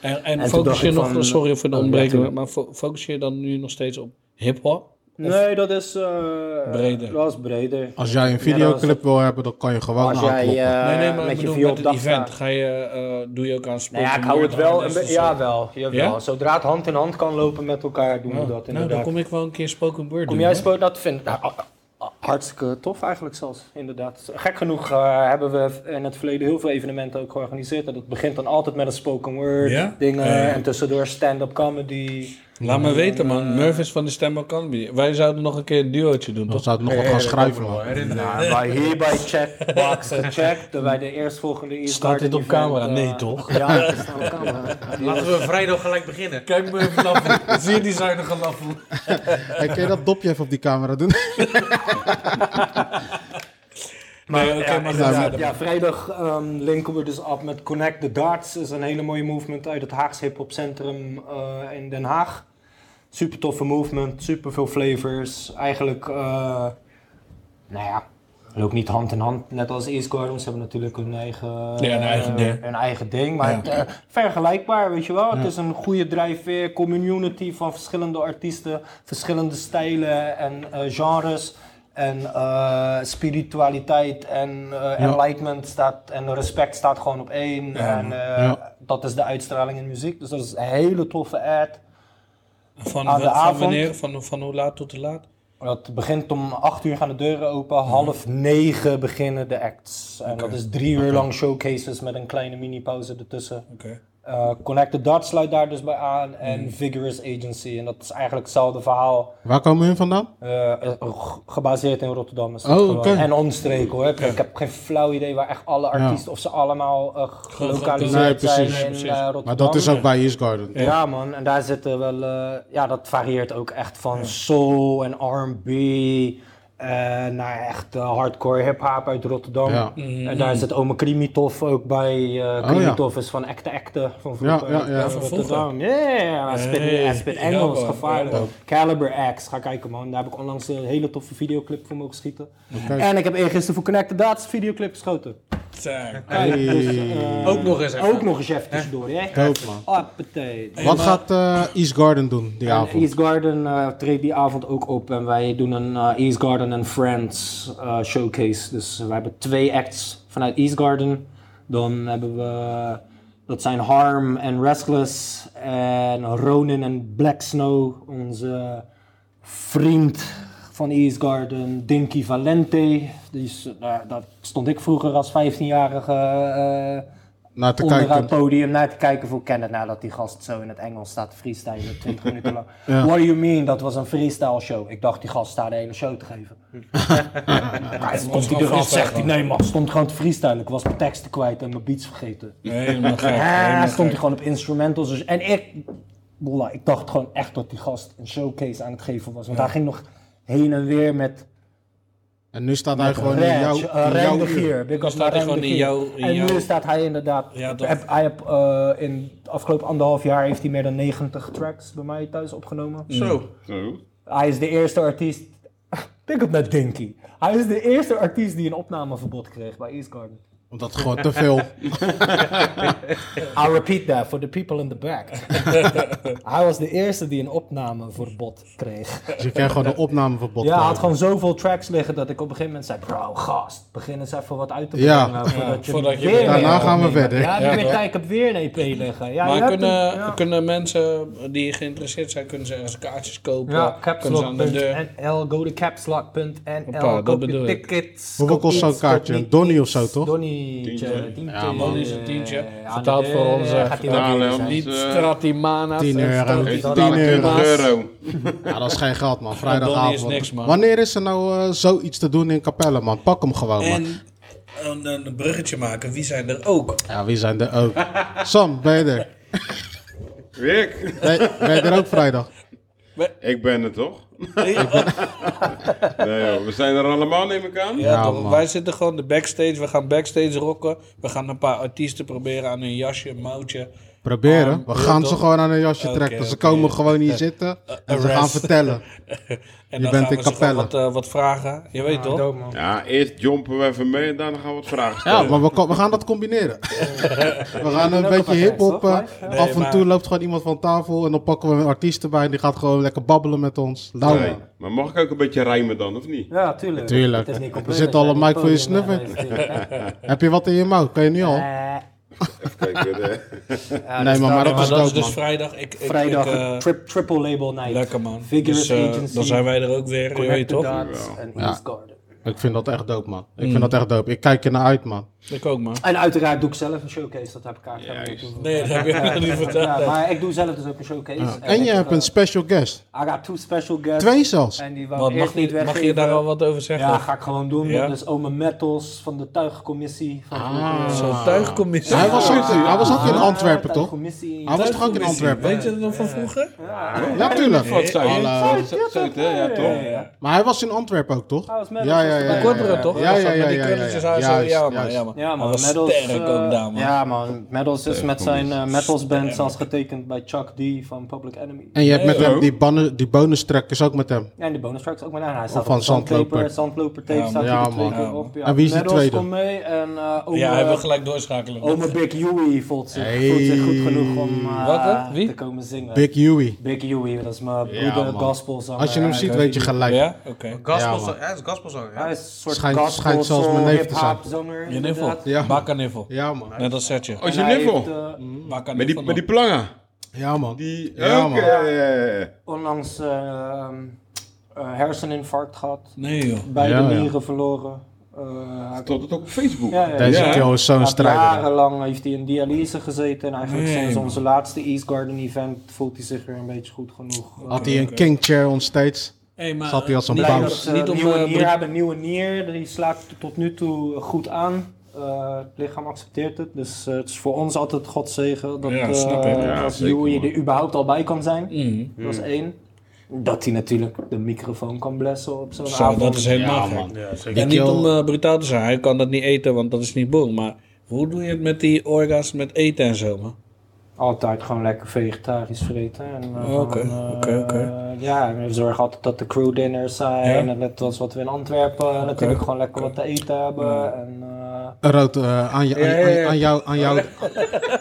Speaker 4: En, en,
Speaker 7: toen
Speaker 4: focus
Speaker 7: dacht
Speaker 4: je
Speaker 7: ik
Speaker 4: nog,
Speaker 7: van-
Speaker 4: sorry voor de
Speaker 7: Oh, ja,
Speaker 4: ontbreking,
Speaker 7: tuurlijk.
Speaker 4: maar fo- focus je dan nu nog steeds op hip-hop?
Speaker 2: Nee, dat is... eh,
Speaker 4: Breder.
Speaker 2: Dat is breder.
Speaker 3: Als jij een videoclip wil hebben, dan kan je gewoon
Speaker 4: Oh,
Speaker 2: Als jij
Speaker 3: aankloppen.
Speaker 2: eh,
Speaker 4: nou, nee, nee, maar ik
Speaker 2: met je
Speaker 4: bedoel,
Speaker 2: vier
Speaker 4: met
Speaker 2: op
Speaker 4: het
Speaker 2: dag
Speaker 4: event
Speaker 2: staat.
Speaker 4: ga je, eh, doe je ook aan
Speaker 7: Nou
Speaker 4: sporten.
Speaker 7: ja, ik hou het wel een beetje.
Speaker 4: Ja,
Speaker 7: Jawel, jawel.
Speaker 4: Ja?
Speaker 7: Zodra het hand in hand kan lopen met elkaar, doen we dat
Speaker 4: nou,
Speaker 7: inderdaad.
Speaker 4: dan kom ik wel een keer spoken word
Speaker 7: Kom
Speaker 4: doen,
Speaker 7: jij
Speaker 4: hoor.
Speaker 7: spook dat vinden? Nou, ah, ah, hartstikke tof eigenlijk zelfs, inderdaad. Gek genoeg eh, hebben we in het verleden heel veel evenementen ook georganiseerd. En dat begint dan altijd met een spoken word
Speaker 4: Ja? Eh.
Speaker 7: dingen
Speaker 4: Ja.
Speaker 7: en tussendoor stand-up comedy.
Speaker 4: Laat me weten,
Speaker 7: eh?
Speaker 4: man. Murph is van de Stem Academy. Wij zouden nog een keer een duootje doen,
Speaker 3: Dan
Speaker 4: toch?
Speaker 3: zou ik nog wat gaan schrijven, man.
Speaker 7: Nou, wij hierbij checkbox gecheckt. dat Wij de eerstvolgende e
Speaker 4: Staat dit op camera? Nee, toch?
Speaker 7: eh, Ja, dat staat op camera.
Speaker 5: Laten we vrijdag gelijk beginnen.
Speaker 4: Kijk me even laffen. Zie je die zuinige laffen?
Speaker 3: Hey, kun je dat dopje even op die camera doen?
Speaker 4: Maar oké, maar ga
Speaker 7: Ja,
Speaker 4: verder.
Speaker 7: ja, vrijdag ehm, linken we dus af met Connect the Darts. is een hele mooie movement uit het Haagse hip-hop centrum eh, in Den Haag. Super toffe movement, super veel flavors. Eigenlijk, eh, nou ja, loopt niet hand in hand. Net als East Gardens hebben natuurlijk hun eigen,
Speaker 4: Ja, hun eigen
Speaker 7: eh,
Speaker 4: ding.
Speaker 7: hun eigen ding. Maar
Speaker 4: Ja.
Speaker 7: het, eh, vergelijkbaar, weet je wel. Het is een goede drijfveer, community van verschillende artiesten, verschillende stijlen en eh, genres. En eh, spiritualiteit en eh, enlightenment staat, en respect staat gewoon op één.
Speaker 4: Ja,
Speaker 7: en eh,
Speaker 3: ja.
Speaker 7: dat is de uitstraling in muziek. Dus dat is een hele toffe ad.
Speaker 4: Van,
Speaker 7: Aan de
Speaker 4: van
Speaker 7: avond.
Speaker 4: wanneer? Van, van hoe laat tot hoe laat?
Speaker 7: Dat begint om 8 uur gaan de deuren open, half negen beginnen de acts. En dat is drie uur lang showcases met een kleine mini-pauze ertussen.
Speaker 4: Oké.
Speaker 7: Eh, Connect the Dots sluit daar dus bij aan en
Speaker 3: Hmm.
Speaker 7: Vigorous Agency. En dat is eigenlijk hetzelfde verhaal,
Speaker 3: Waar komen hun vandaan?
Speaker 7: eh, eh, g- gebaseerd in Rotterdam. Is dat
Speaker 3: Oh,
Speaker 7: gewoon.
Speaker 3: oké.
Speaker 7: En omstreken hoor. Ik, ik heb geen flauw idee waar echt alle artiesten, of ze allemaal eh, gelokaliseerd
Speaker 3: Nee, precies.
Speaker 7: zijn
Speaker 3: Nee,
Speaker 7: in
Speaker 4: precies.
Speaker 7: eh,
Speaker 4: Maar
Speaker 7: Rotterdam.
Speaker 3: Maar dat is ook bij East Garden.
Speaker 7: Ja. man, en daar zitten wel, eh, ja dat varieert ook echt van soul en R&B eh, naar echt eh, hardcore hip-hop uit Rotterdam.
Speaker 3: Ja. Oh,
Speaker 7: En daar zit Ome Krimitov ook bij. eh
Speaker 3: ja.
Speaker 7: Krimitov is van Acte Acte van vroeger.
Speaker 3: Ja, ja, ja.
Speaker 7: uit
Speaker 4: Van
Speaker 7: Rotterdam. Ja, ja, ja, hij spit-
Speaker 4: Hey,
Speaker 7: hij spit Engels,
Speaker 4: ja, man.
Speaker 7: gevaarlijk.
Speaker 4: Ja,
Speaker 7: Caliber X, ga kijken man. Daar heb ik onlangs een hele toffe videoclip voor mogen schieten.
Speaker 3: Oké.
Speaker 7: En ik heb eergisteren voor Connected Dots een videoclip geschoten. Dus, eh,
Speaker 4: Zaak.
Speaker 3: Hey,
Speaker 5: Ook nog eens even.
Speaker 7: Ook nog eens even tussendoor, hè?
Speaker 3: dope, man.
Speaker 7: Appetite.
Speaker 3: Wat gaat eh, East Garden doen die
Speaker 7: En
Speaker 3: avond?
Speaker 7: East Garden eh, treedt die avond ook op en wij doen een eh, East Garden and Friends eh, showcase. Dus we hebben twee acts vanuit East Garden. Dan hebben we, dat zijn Harm en Restless en Ronin en Black Snow, onze vriend van East Garden, Dinky Valente. Die is, eh, daar- daar stond ik vroeger als 15-jarige eh,
Speaker 3: Naar te
Speaker 7: onder het
Speaker 3: kijken.
Speaker 7: podium naar te kijken voor kennen. Nadat die gast zo in het Engels staat te freestylen, 20 minuten lang. What do you mean? Dat was een freestyle show. Ik dacht, die gast staat de hele show te geven. Hij komt hij
Speaker 4: gewoon
Speaker 7: eraf, zegt hij,
Speaker 4: freestylen.
Speaker 7: nee man, stond gewoon te freestylen. Ik was mijn teksten kwijt en mijn beats vergeten.
Speaker 4: Helemaal gek.
Speaker 7: Ja,
Speaker 4: helemaal
Speaker 7: stond
Speaker 4: gek.
Speaker 7: hij gewoon op instrumentals. Dus, en ik, wallah, ik dacht gewoon echt dat die gast een showcase aan het geven was. Want hij ging nog heen en weer met
Speaker 3: En nu staat hij gewoon in jouw,
Speaker 7: Reg,
Speaker 3: in jouw
Speaker 7: eh, Rijn
Speaker 3: uur.
Speaker 7: Geer. Big
Speaker 4: Dan
Speaker 7: up
Speaker 4: staat hij
Speaker 7: naar
Speaker 4: gewoon
Speaker 7: Rijn de
Speaker 4: in
Speaker 7: Geer.
Speaker 4: jouw- in
Speaker 7: En
Speaker 4: jouw-
Speaker 7: nu staat hij inderdaad...
Speaker 4: Ja, dat-
Speaker 7: heb, hij heb, eh, in het afgelopen anderhalf jaar heeft hij meer dan 90 tracks bij mij thuis opgenomen.
Speaker 5: Zo.
Speaker 6: Zo.
Speaker 7: Hij is de eerste artiest... Pick up met Dinky. Hij is de eerste artiest die een opnameverbod kreeg bij East Garden.
Speaker 3: Omdat het gewoon te veel.
Speaker 7: I'll repeat that for the people in the back. hij was de eerste die een opnameverbod kreeg.
Speaker 3: Dus je krijgt gewoon een opnameverbod.
Speaker 7: Ja, hij had
Speaker 3: krijgen.
Speaker 7: gewoon zoveel tracks liggen dat ik op een gegeven moment zei: Bro, gast, begin eens even wat uit te brengen.
Speaker 3: Ja.
Speaker 7: voordat je
Speaker 4: voordat je-
Speaker 7: weer
Speaker 4: Daarna
Speaker 7: een EP
Speaker 3: gaan we
Speaker 7: opneemt."
Speaker 3: verder.
Speaker 7: Ja,
Speaker 4: Ja,
Speaker 7: heb weer
Speaker 4: toch?
Speaker 7: tijd, ik heb weer een EP liggen. Ja, je
Speaker 4: Maar
Speaker 7: hebt
Speaker 4: kunnen,
Speaker 7: een- ja.
Speaker 4: kunnen mensen die geïnteresseerd zijn, kunnen ze ergens kaartjes kopen?
Speaker 7: Ja,
Speaker 4: kunnen ze aan de deur?
Speaker 7: capslock.nl, go to capslock.nl,
Speaker 4: eh, Hoppa, dat
Speaker 7: koop je
Speaker 4: bedoel ik.
Speaker 7: tickets.
Speaker 3: Hoeveel
Speaker 7: koop
Speaker 3: kost zo'n
Speaker 7: iets,
Speaker 3: kaartje?
Speaker 7: koop
Speaker 3: Een
Speaker 7: niet
Speaker 3: donnie of
Speaker 7: iets.
Speaker 3: zo, toch?
Speaker 7: Donnietje, eh, tientje.
Speaker 3: Ja,
Speaker 4: man, is een tientje.
Speaker 7: Eh, aan
Speaker 4: Vertaald
Speaker 7: de
Speaker 4: voor eh,
Speaker 7: deur
Speaker 4: onze
Speaker 7: gaat hij wel
Speaker 6: vertalen,
Speaker 7: weer zijn.
Speaker 6: want-
Speaker 4: Niet
Speaker 6: eh,
Speaker 4: Stratimana's.
Speaker 3: 10
Speaker 4: en
Speaker 3: euro.
Speaker 6: Heeft
Speaker 4: Stratimana's.
Speaker 6: het dadelijk 20 euro.
Speaker 3: Ja, dat is geen geld, man.
Speaker 4: Donnie is
Speaker 3: Vrijdagavond.
Speaker 4: niks, man.
Speaker 3: Wanneer is er nou eh, zoiets te doen in Capelle, man? Pak hem gewoon, man.
Speaker 4: En een, een bruggetje maken, wie zijn er ook?
Speaker 3: Ja, wie zijn er ook? Sam, ben je er?
Speaker 6: Rick.
Speaker 3: Ben, ben je er ook vrijdag?
Speaker 6: Ik ben er toch?
Speaker 4: Ja,
Speaker 6: Nee, joh. We zijn er allemaal, neem ik aan.
Speaker 3: Ja,
Speaker 4: toch,
Speaker 3: Nou, man.
Speaker 4: wij zitten gewoon de backstage, we gaan backstage rocken. We gaan een paar artiesten proberen aan hun jasje, een mouwtje.
Speaker 3: Proberen.
Speaker 4: Aan
Speaker 3: we
Speaker 4: beeld
Speaker 3: gaan ze
Speaker 4: dan?
Speaker 3: gewoon aan een jasje
Speaker 4: Oké,
Speaker 3: trekken. Ze
Speaker 4: oké.
Speaker 3: komen gewoon hier zitten en ze
Speaker 4: arrest.
Speaker 3: gaan vertellen. Je
Speaker 4: En dan
Speaker 3: bent
Speaker 4: gaan
Speaker 3: in
Speaker 4: we ze gewoon
Speaker 3: Capelle.
Speaker 4: Wat, eh, wat vragen. Je weet toch?
Speaker 9: man.
Speaker 6: Ja, eerst jumpen we even mee en daarna gaan we wat vragen stellen.
Speaker 3: Ja, maar we, ko- we gaan dat combineren. We gaan een
Speaker 7: ook
Speaker 3: beetje
Speaker 7: een
Speaker 3: hip-hop.
Speaker 7: artiest,
Speaker 3: eh,
Speaker 7: toch?
Speaker 4: Nee,
Speaker 3: af en
Speaker 4: maar-
Speaker 3: toe loopt gewoon iemand van tafel en dan pakken we een artiest erbij en die gaat gewoon lekker babbelen met ons. Nou,
Speaker 6: Nee, maar mag ik ook een beetje rijmen dan, of niet?
Speaker 7: Ja, tuurlijk.
Speaker 3: Tuurlijk.
Speaker 7: Het is niet
Speaker 3: Er
Speaker 7: compleet
Speaker 3: zit
Speaker 7: dat
Speaker 3: al
Speaker 7: jij
Speaker 3: een
Speaker 7: die
Speaker 3: mic voor je
Speaker 7: podium
Speaker 3: snuffer.
Speaker 7: aanlevert.
Speaker 3: heb je wat in je mouw? Kan je nu al?
Speaker 7: Eh,
Speaker 6: Even kijken. eh.
Speaker 7: ja,
Speaker 3: nee, maar, maar
Speaker 4: Ja,
Speaker 3: dat
Speaker 4: maar
Speaker 3: is
Speaker 4: dat is
Speaker 3: dood,
Speaker 4: dus
Speaker 3: man.
Speaker 4: vrijdag. Ik, ik,
Speaker 7: Vrijdag,
Speaker 4: ik, eh,
Speaker 7: tri- triple label night.
Speaker 4: lekker man.
Speaker 7: Vigorous
Speaker 4: Dus, eh,
Speaker 7: Agency,
Speaker 4: dan zijn wij er ook weer. Je weet
Speaker 7: Connect the
Speaker 4: toch?
Speaker 7: dots en
Speaker 3: Ja.
Speaker 7: East Garden.
Speaker 3: Ik vind dat echt dood, man.
Speaker 4: Mm.
Speaker 3: Ik vind dat echt dood. Ik kijk er naar uit, man.
Speaker 4: Ik ook man.
Speaker 7: En uiteraard doe ik zelf een showcase, dat heb ik eigenlijk
Speaker 6: Juist.
Speaker 7: niet
Speaker 4: Nee, dat heb je nog niet verteld.
Speaker 7: ja, maar ik doe zelf dus ook een showcase.
Speaker 3: En je
Speaker 7: ik,
Speaker 3: hebt
Speaker 7: eh,
Speaker 3: een special guest.
Speaker 7: I got two special guests.
Speaker 3: Twee zelfs.
Speaker 7: En die
Speaker 4: Wat,
Speaker 7: wou ik
Speaker 4: mag,
Speaker 7: eerst niet
Speaker 4: je,
Speaker 7: weggeven.
Speaker 4: mag je daar al wat over zeggen?
Speaker 7: Ja, ga ik gewoon doen.
Speaker 4: Ja?
Speaker 7: Dus Ome Metals van de tuigcommissie. Van
Speaker 3: Ah,
Speaker 4: Zo'n tuigcommissie.
Speaker 3: Hij was ook, hij was ook in
Speaker 7: Ah,
Speaker 3: Antwerpen, toch? Ah,
Speaker 7: tuigcommissie in-
Speaker 3: Hij was toch ook in
Speaker 4: Tuigcommissie.
Speaker 3: Antwerpen?
Speaker 4: Weet je dat nog van vroeger?
Speaker 3: Ja, tuurlijk.
Speaker 6: Wat zou je?
Speaker 3: Hallo.
Speaker 6: Zou- zou- zou het, hè? Ja, toch?
Speaker 3: Maar hij was in Antwerpen ook, toch?
Speaker 7: Hij was met
Speaker 3: ja,
Speaker 7: ons,
Speaker 3: ja,
Speaker 7: was
Speaker 3: ja,
Speaker 7: erbij.
Speaker 3: ja,
Speaker 4: Kortrijk
Speaker 3: ja.
Speaker 4: toch?
Speaker 3: Ja, ja, ja.
Speaker 4: Met die
Speaker 3: ja, ja,
Speaker 4: krulletjes
Speaker 3: ja.
Speaker 4: haar zo.
Speaker 3: Juist,
Speaker 4: Ja man,
Speaker 3: juist.
Speaker 4: ja man.
Speaker 7: Ja,
Speaker 4: Hij
Speaker 7: man.
Speaker 4: was
Speaker 7: Medals,
Speaker 4: sterk
Speaker 7: eh,
Speaker 4: ook daar man.
Speaker 7: Ja, man. Medals is met zijn eh, Medals band zelfs getekend bij Chuck D van Public Enemy.
Speaker 3: En je hebt met
Speaker 6: Hey,
Speaker 3: hem
Speaker 6: oh.
Speaker 3: die, bannen- die bonus track is ook met hem.
Speaker 7: Ja, en de bonus tracks ook maar aan. Hij staat
Speaker 3: Of van
Speaker 7: op
Speaker 3: Zandloper.
Speaker 7: Zandloper. Zandloper tape
Speaker 4: Ja,
Speaker 7: staat
Speaker 3: man.
Speaker 7: hier
Speaker 3: Ja,
Speaker 7: twee
Speaker 3: man.
Speaker 7: keer
Speaker 4: Ja,
Speaker 7: op. Ja,
Speaker 3: En wie is de
Speaker 7: Medals
Speaker 3: tweede?
Speaker 7: komt mee en eh ome,
Speaker 4: Ja, hij wil gelijk doorschakelen.
Speaker 7: ome Big Huey voelt zich,
Speaker 3: Hey.
Speaker 7: voelt zich goed genoeg om eh,
Speaker 4: Wat, hè? Wie?
Speaker 7: te komen zingen.
Speaker 3: Big Huey.
Speaker 7: Big Huey, dat is mijn
Speaker 3: Ja,
Speaker 7: broeder
Speaker 3: man.
Speaker 7: gospelzanger.
Speaker 3: Als je hem
Speaker 7: Hij-
Speaker 3: ziet, weet je gelijk.
Speaker 4: Ja, oké.
Speaker 5: Gospel,
Speaker 3: Ja, man.
Speaker 5: hij is gospelzanger.
Speaker 7: Hij
Speaker 5: Ja.
Speaker 7: is een soort
Speaker 3: Schijnt-
Speaker 7: gospel,
Speaker 3: schijnt zelfs mijn
Speaker 7: soul,
Speaker 3: neef te zijn.
Speaker 7: hip-hop zanger,
Speaker 4: Je niffel.
Speaker 7: inderdaad.
Speaker 3: Ja.
Speaker 4: Bakka niffel.
Speaker 3: Ja, man.
Speaker 4: Net als setje.
Speaker 6: Als je
Speaker 7: En hij
Speaker 6: niffel.
Speaker 7: heeft, eh,
Speaker 4: Bakka
Speaker 6: Met die,
Speaker 4: niffel.
Speaker 6: met die planga.
Speaker 3: Ja, man.
Speaker 6: Die,
Speaker 3: Ja, man.
Speaker 6: Oké.
Speaker 7: onlangs eh, eh, herseninfarct gehad.
Speaker 4: Nee joh.
Speaker 7: Beide
Speaker 3: Ja, ja.
Speaker 7: nieren verloren. Eh, hij
Speaker 6: Stond het ook op Facebook?
Speaker 7: Ja, ja.
Speaker 3: Deze
Speaker 6: Ja.
Speaker 3: kill is zo'n
Speaker 7: Hij heeft
Speaker 3: strijder.
Speaker 7: jarenlang heeft hij in dialyse gezeten. En eigenlijk
Speaker 4: Nee,
Speaker 7: sinds
Speaker 4: man.
Speaker 7: onze laatste East Garden event voelt hij zich weer een beetje goed genoeg.
Speaker 3: Had hij een king chair on stage.
Speaker 4: Hey, maar,
Speaker 3: Zat hij als een
Speaker 4: niet
Speaker 3: pauw.
Speaker 4: om-
Speaker 7: Dus, eh,
Speaker 4: Niet om...
Speaker 7: nieuwe
Speaker 4: eh,
Speaker 7: nier, hij heeft een nieuwe nier. Die slaat tot nu toe goed aan. Eh, het lichaam accepteert het. Dus eh, het is voor ons altijd godzegen dat,
Speaker 4: Ja,
Speaker 7: eh,
Speaker 4: snap ik.
Speaker 6: Ja,
Speaker 7: dat
Speaker 6: zeker,
Speaker 7: Joey
Speaker 6: man.
Speaker 7: er überhaupt al bij kan zijn.
Speaker 4: Mm.
Speaker 7: Dat is één. Dat hij natuurlijk de microfoon kan blessen op zo'n
Speaker 4: Zo,
Speaker 7: avond.
Speaker 4: dat is helemaal
Speaker 3: Ja,
Speaker 4: gek.
Speaker 3: man.
Speaker 4: Ja,
Speaker 3: Die
Speaker 4: niet
Speaker 3: kill-
Speaker 4: om eh, brutaal te zijn, hij kan dat niet eten, want dat is niet boem. Maar hoe doe je het met die orga's met eten en zo, man?
Speaker 7: Altijd gewoon lekker vegetarisch vreten. En, eh,
Speaker 4: Oh, oké,
Speaker 7: gewoon, eh,
Speaker 4: oké, oké.
Speaker 7: Ja, en we zorgen altijd dat de crew dinners zijn.
Speaker 4: Ja.
Speaker 7: En net als wat we in Antwerpen eh, natuurlijk gewoon lekker wat te eten hebben. En, eh,
Speaker 3: Rood, eh, aan, je, aan,
Speaker 4: Ja, ja, ja.
Speaker 3: aan- aan jou, aan jou,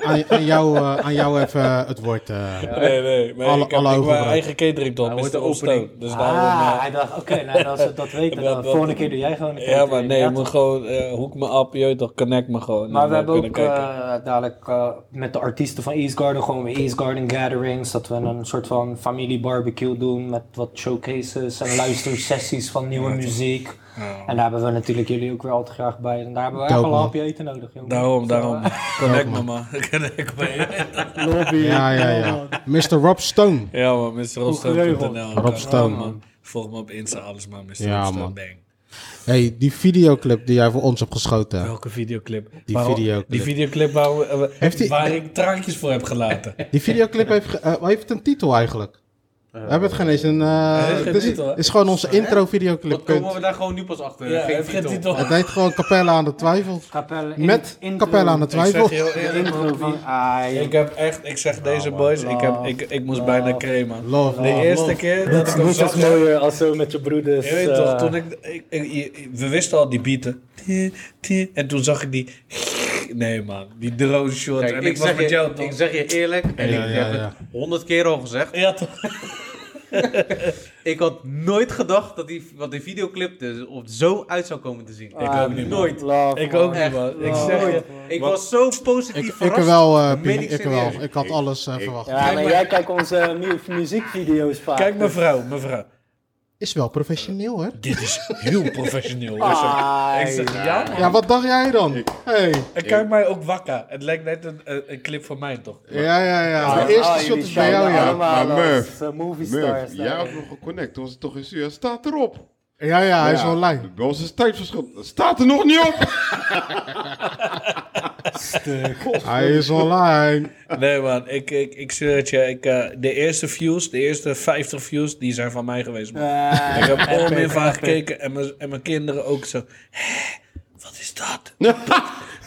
Speaker 3: aan, je- aan jou, eh, aan jou even eh, het woord. eh.
Speaker 4: Nee, nee. nee
Speaker 3: Alle- alle
Speaker 4: ik heb ik heb
Speaker 3: ogen
Speaker 4: mijn
Speaker 3: gebruikt.
Speaker 4: eigen catering tot,
Speaker 5: Hij wordt
Speaker 4: Mr.
Speaker 5: de
Speaker 4: Opstoot.
Speaker 5: opening.
Speaker 4: Dus daarom...
Speaker 7: ah,
Speaker 4: eh,
Speaker 7: hij dacht, oké, nou als we dat weten,
Speaker 4: Dat-
Speaker 7: dan
Speaker 4: dat-
Speaker 7: volgende keer doe jij gewoon een keer.
Speaker 4: ja, maar nee, je
Speaker 7: Ja,
Speaker 4: moet gewoon... eh, hoek me op, je weet toch, connect me gewoon.
Speaker 7: Maar
Speaker 4: En
Speaker 7: we
Speaker 4: dan
Speaker 7: hebben
Speaker 4: kunnen
Speaker 7: ook
Speaker 4: kijken.
Speaker 7: eh, dadelijk eh, met de artiesten van East Garden gewoon weer East Garden gatherings. Dat we een soort van familiebarbecue doen met wat showcases en luistersessies van nieuwe muziek. En daar hebben we natuurlijk jullie ook weer altijd graag bij. En daar hebben we echt
Speaker 3: Dope,
Speaker 7: wel een
Speaker 3: man.
Speaker 7: hapje eten nodig, jongen.
Speaker 4: Daarom,
Speaker 7: Dus,
Speaker 4: daarom.
Speaker 7: eh,
Speaker 4: Connect me, man. Connect me.
Speaker 7: Lobby.
Speaker 3: Ja, ja, ja. Mr. Rob Stone.
Speaker 4: Ja, man, mrrobstone.nl.
Speaker 7: geregeld.
Speaker 3: Rob Stone,
Speaker 4: Ja, Volg me op Insta, alles maar, Mr.
Speaker 3: Ja,
Speaker 4: Opstoot.
Speaker 3: man.
Speaker 4: Bang.
Speaker 3: hey, die videoclip die jij voor ons hebt geschoten.
Speaker 4: Welke videoclip?
Speaker 3: Die
Speaker 4: Waarom-
Speaker 3: videoclip.
Speaker 4: Die videoclip waar, we- eh,
Speaker 3: Heeft die-
Speaker 4: waar ik traantjes voor heb gelaten.
Speaker 3: Die videoclip heeft, ge- eh, heeft een titel eigenlijk. We hebben het geen eens een... eh,
Speaker 4: heeft geen
Speaker 3: het is,
Speaker 4: titel, hè?
Speaker 3: het is gewoon onze intro videoclip.
Speaker 5: Wat komen
Speaker 3: punt.
Speaker 5: we daar gewoon nu pas achter?
Speaker 4: Ja,
Speaker 5: Geen
Speaker 4: heeft geen
Speaker 5: titel.
Speaker 4: titel.
Speaker 3: Het heet gewoon Capella aan de Twijfel.
Speaker 7: Capelle in-
Speaker 3: Met
Speaker 7: intro.
Speaker 3: Capella aan de
Speaker 4: Ik zeg
Speaker 3: Twijfel.
Speaker 4: je heel eerlijk,
Speaker 7: Intro van... Ah,
Speaker 4: ik heb echt, ik zeg deze boys, ik, heb, ik, ik moest bijna cremen.
Speaker 3: Love,
Speaker 4: De
Speaker 3: love,
Speaker 4: eerste
Speaker 3: love.
Speaker 4: keer dat ik hem
Speaker 7: Niet echt
Speaker 4: zag,
Speaker 7: mooier als zo met je broeders.
Speaker 4: je weet toch,
Speaker 7: eh,
Speaker 4: toen ik, ik, ik- je- we wisten al die beaten. Tie, tie. En toen zag ik die, nee man, die drone shot.
Speaker 5: Kijk,
Speaker 4: en
Speaker 5: ik, zeg
Speaker 4: met
Speaker 5: je,
Speaker 4: jou
Speaker 5: ik
Speaker 4: toch.
Speaker 5: zeg je eerlijk, en
Speaker 3: Ja,
Speaker 5: ik
Speaker 3: ja,
Speaker 5: heb
Speaker 3: ja.
Speaker 5: het honderd keer al gezegd.
Speaker 4: Ja toch.
Speaker 5: Ik had nooit gedacht dat die, wat die videoclip dus op zo uit zou komen te zien.
Speaker 7: ah,
Speaker 4: Ik ook niet, man.
Speaker 5: nooit.
Speaker 7: love,
Speaker 4: Ik
Speaker 7: man.
Speaker 4: ook niet
Speaker 5: Echt.
Speaker 4: man. Ik
Speaker 7: Oh.
Speaker 4: zeg je,
Speaker 5: Ik was zo positief
Speaker 3: Ik, ik
Speaker 5: verrast.
Speaker 3: er wel, eh,
Speaker 5: Dat meen
Speaker 3: Pien, ik er wel.
Speaker 5: serieus.
Speaker 3: Ik had alles eh, verwacht.
Speaker 7: Ja, maar jij kijkt onze mu- muziekvideo's vaak.
Speaker 4: kijk mevrouw, mevrouw.
Speaker 3: Is wel professioneel, hè?
Speaker 4: Dit is heel professioneel.
Speaker 7: Ah,
Speaker 4: Ik zeg, ja man.
Speaker 3: Ja, wat dacht jij dan? Hey.
Speaker 4: En kijk mij ook wakker. Het lijkt net een, een, een clip van mij toch.
Speaker 3: Ja, ja, ja. De
Speaker 7: Ah,
Speaker 3: eerste shot is bij jou, ja.
Speaker 6: Maar Murph,
Speaker 7: eh, movie
Speaker 6: Murph,
Speaker 7: stars.
Speaker 6: jij had nog geconnect. Toen was het toch in Suur. Staat erop.
Speaker 3: Ja, ja, hij is
Speaker 6: Ja,
Speaker 3: online.
Speaker 6: Bij ons is tijdverschil. Het Staat er nog niet op.
Speaker 3: Hij is online.
Speaker 4: Nee man, ik, ik, ik zweer het je. Ik, eh, de eerste views, de eerste 50 views, die zijn van mij geweest man.
Speaker 10: Eh,
Speaker 4: ik heb onmeervaar gekeken en mijn, en mijn kinderen ook zo. Hé, wat is dat?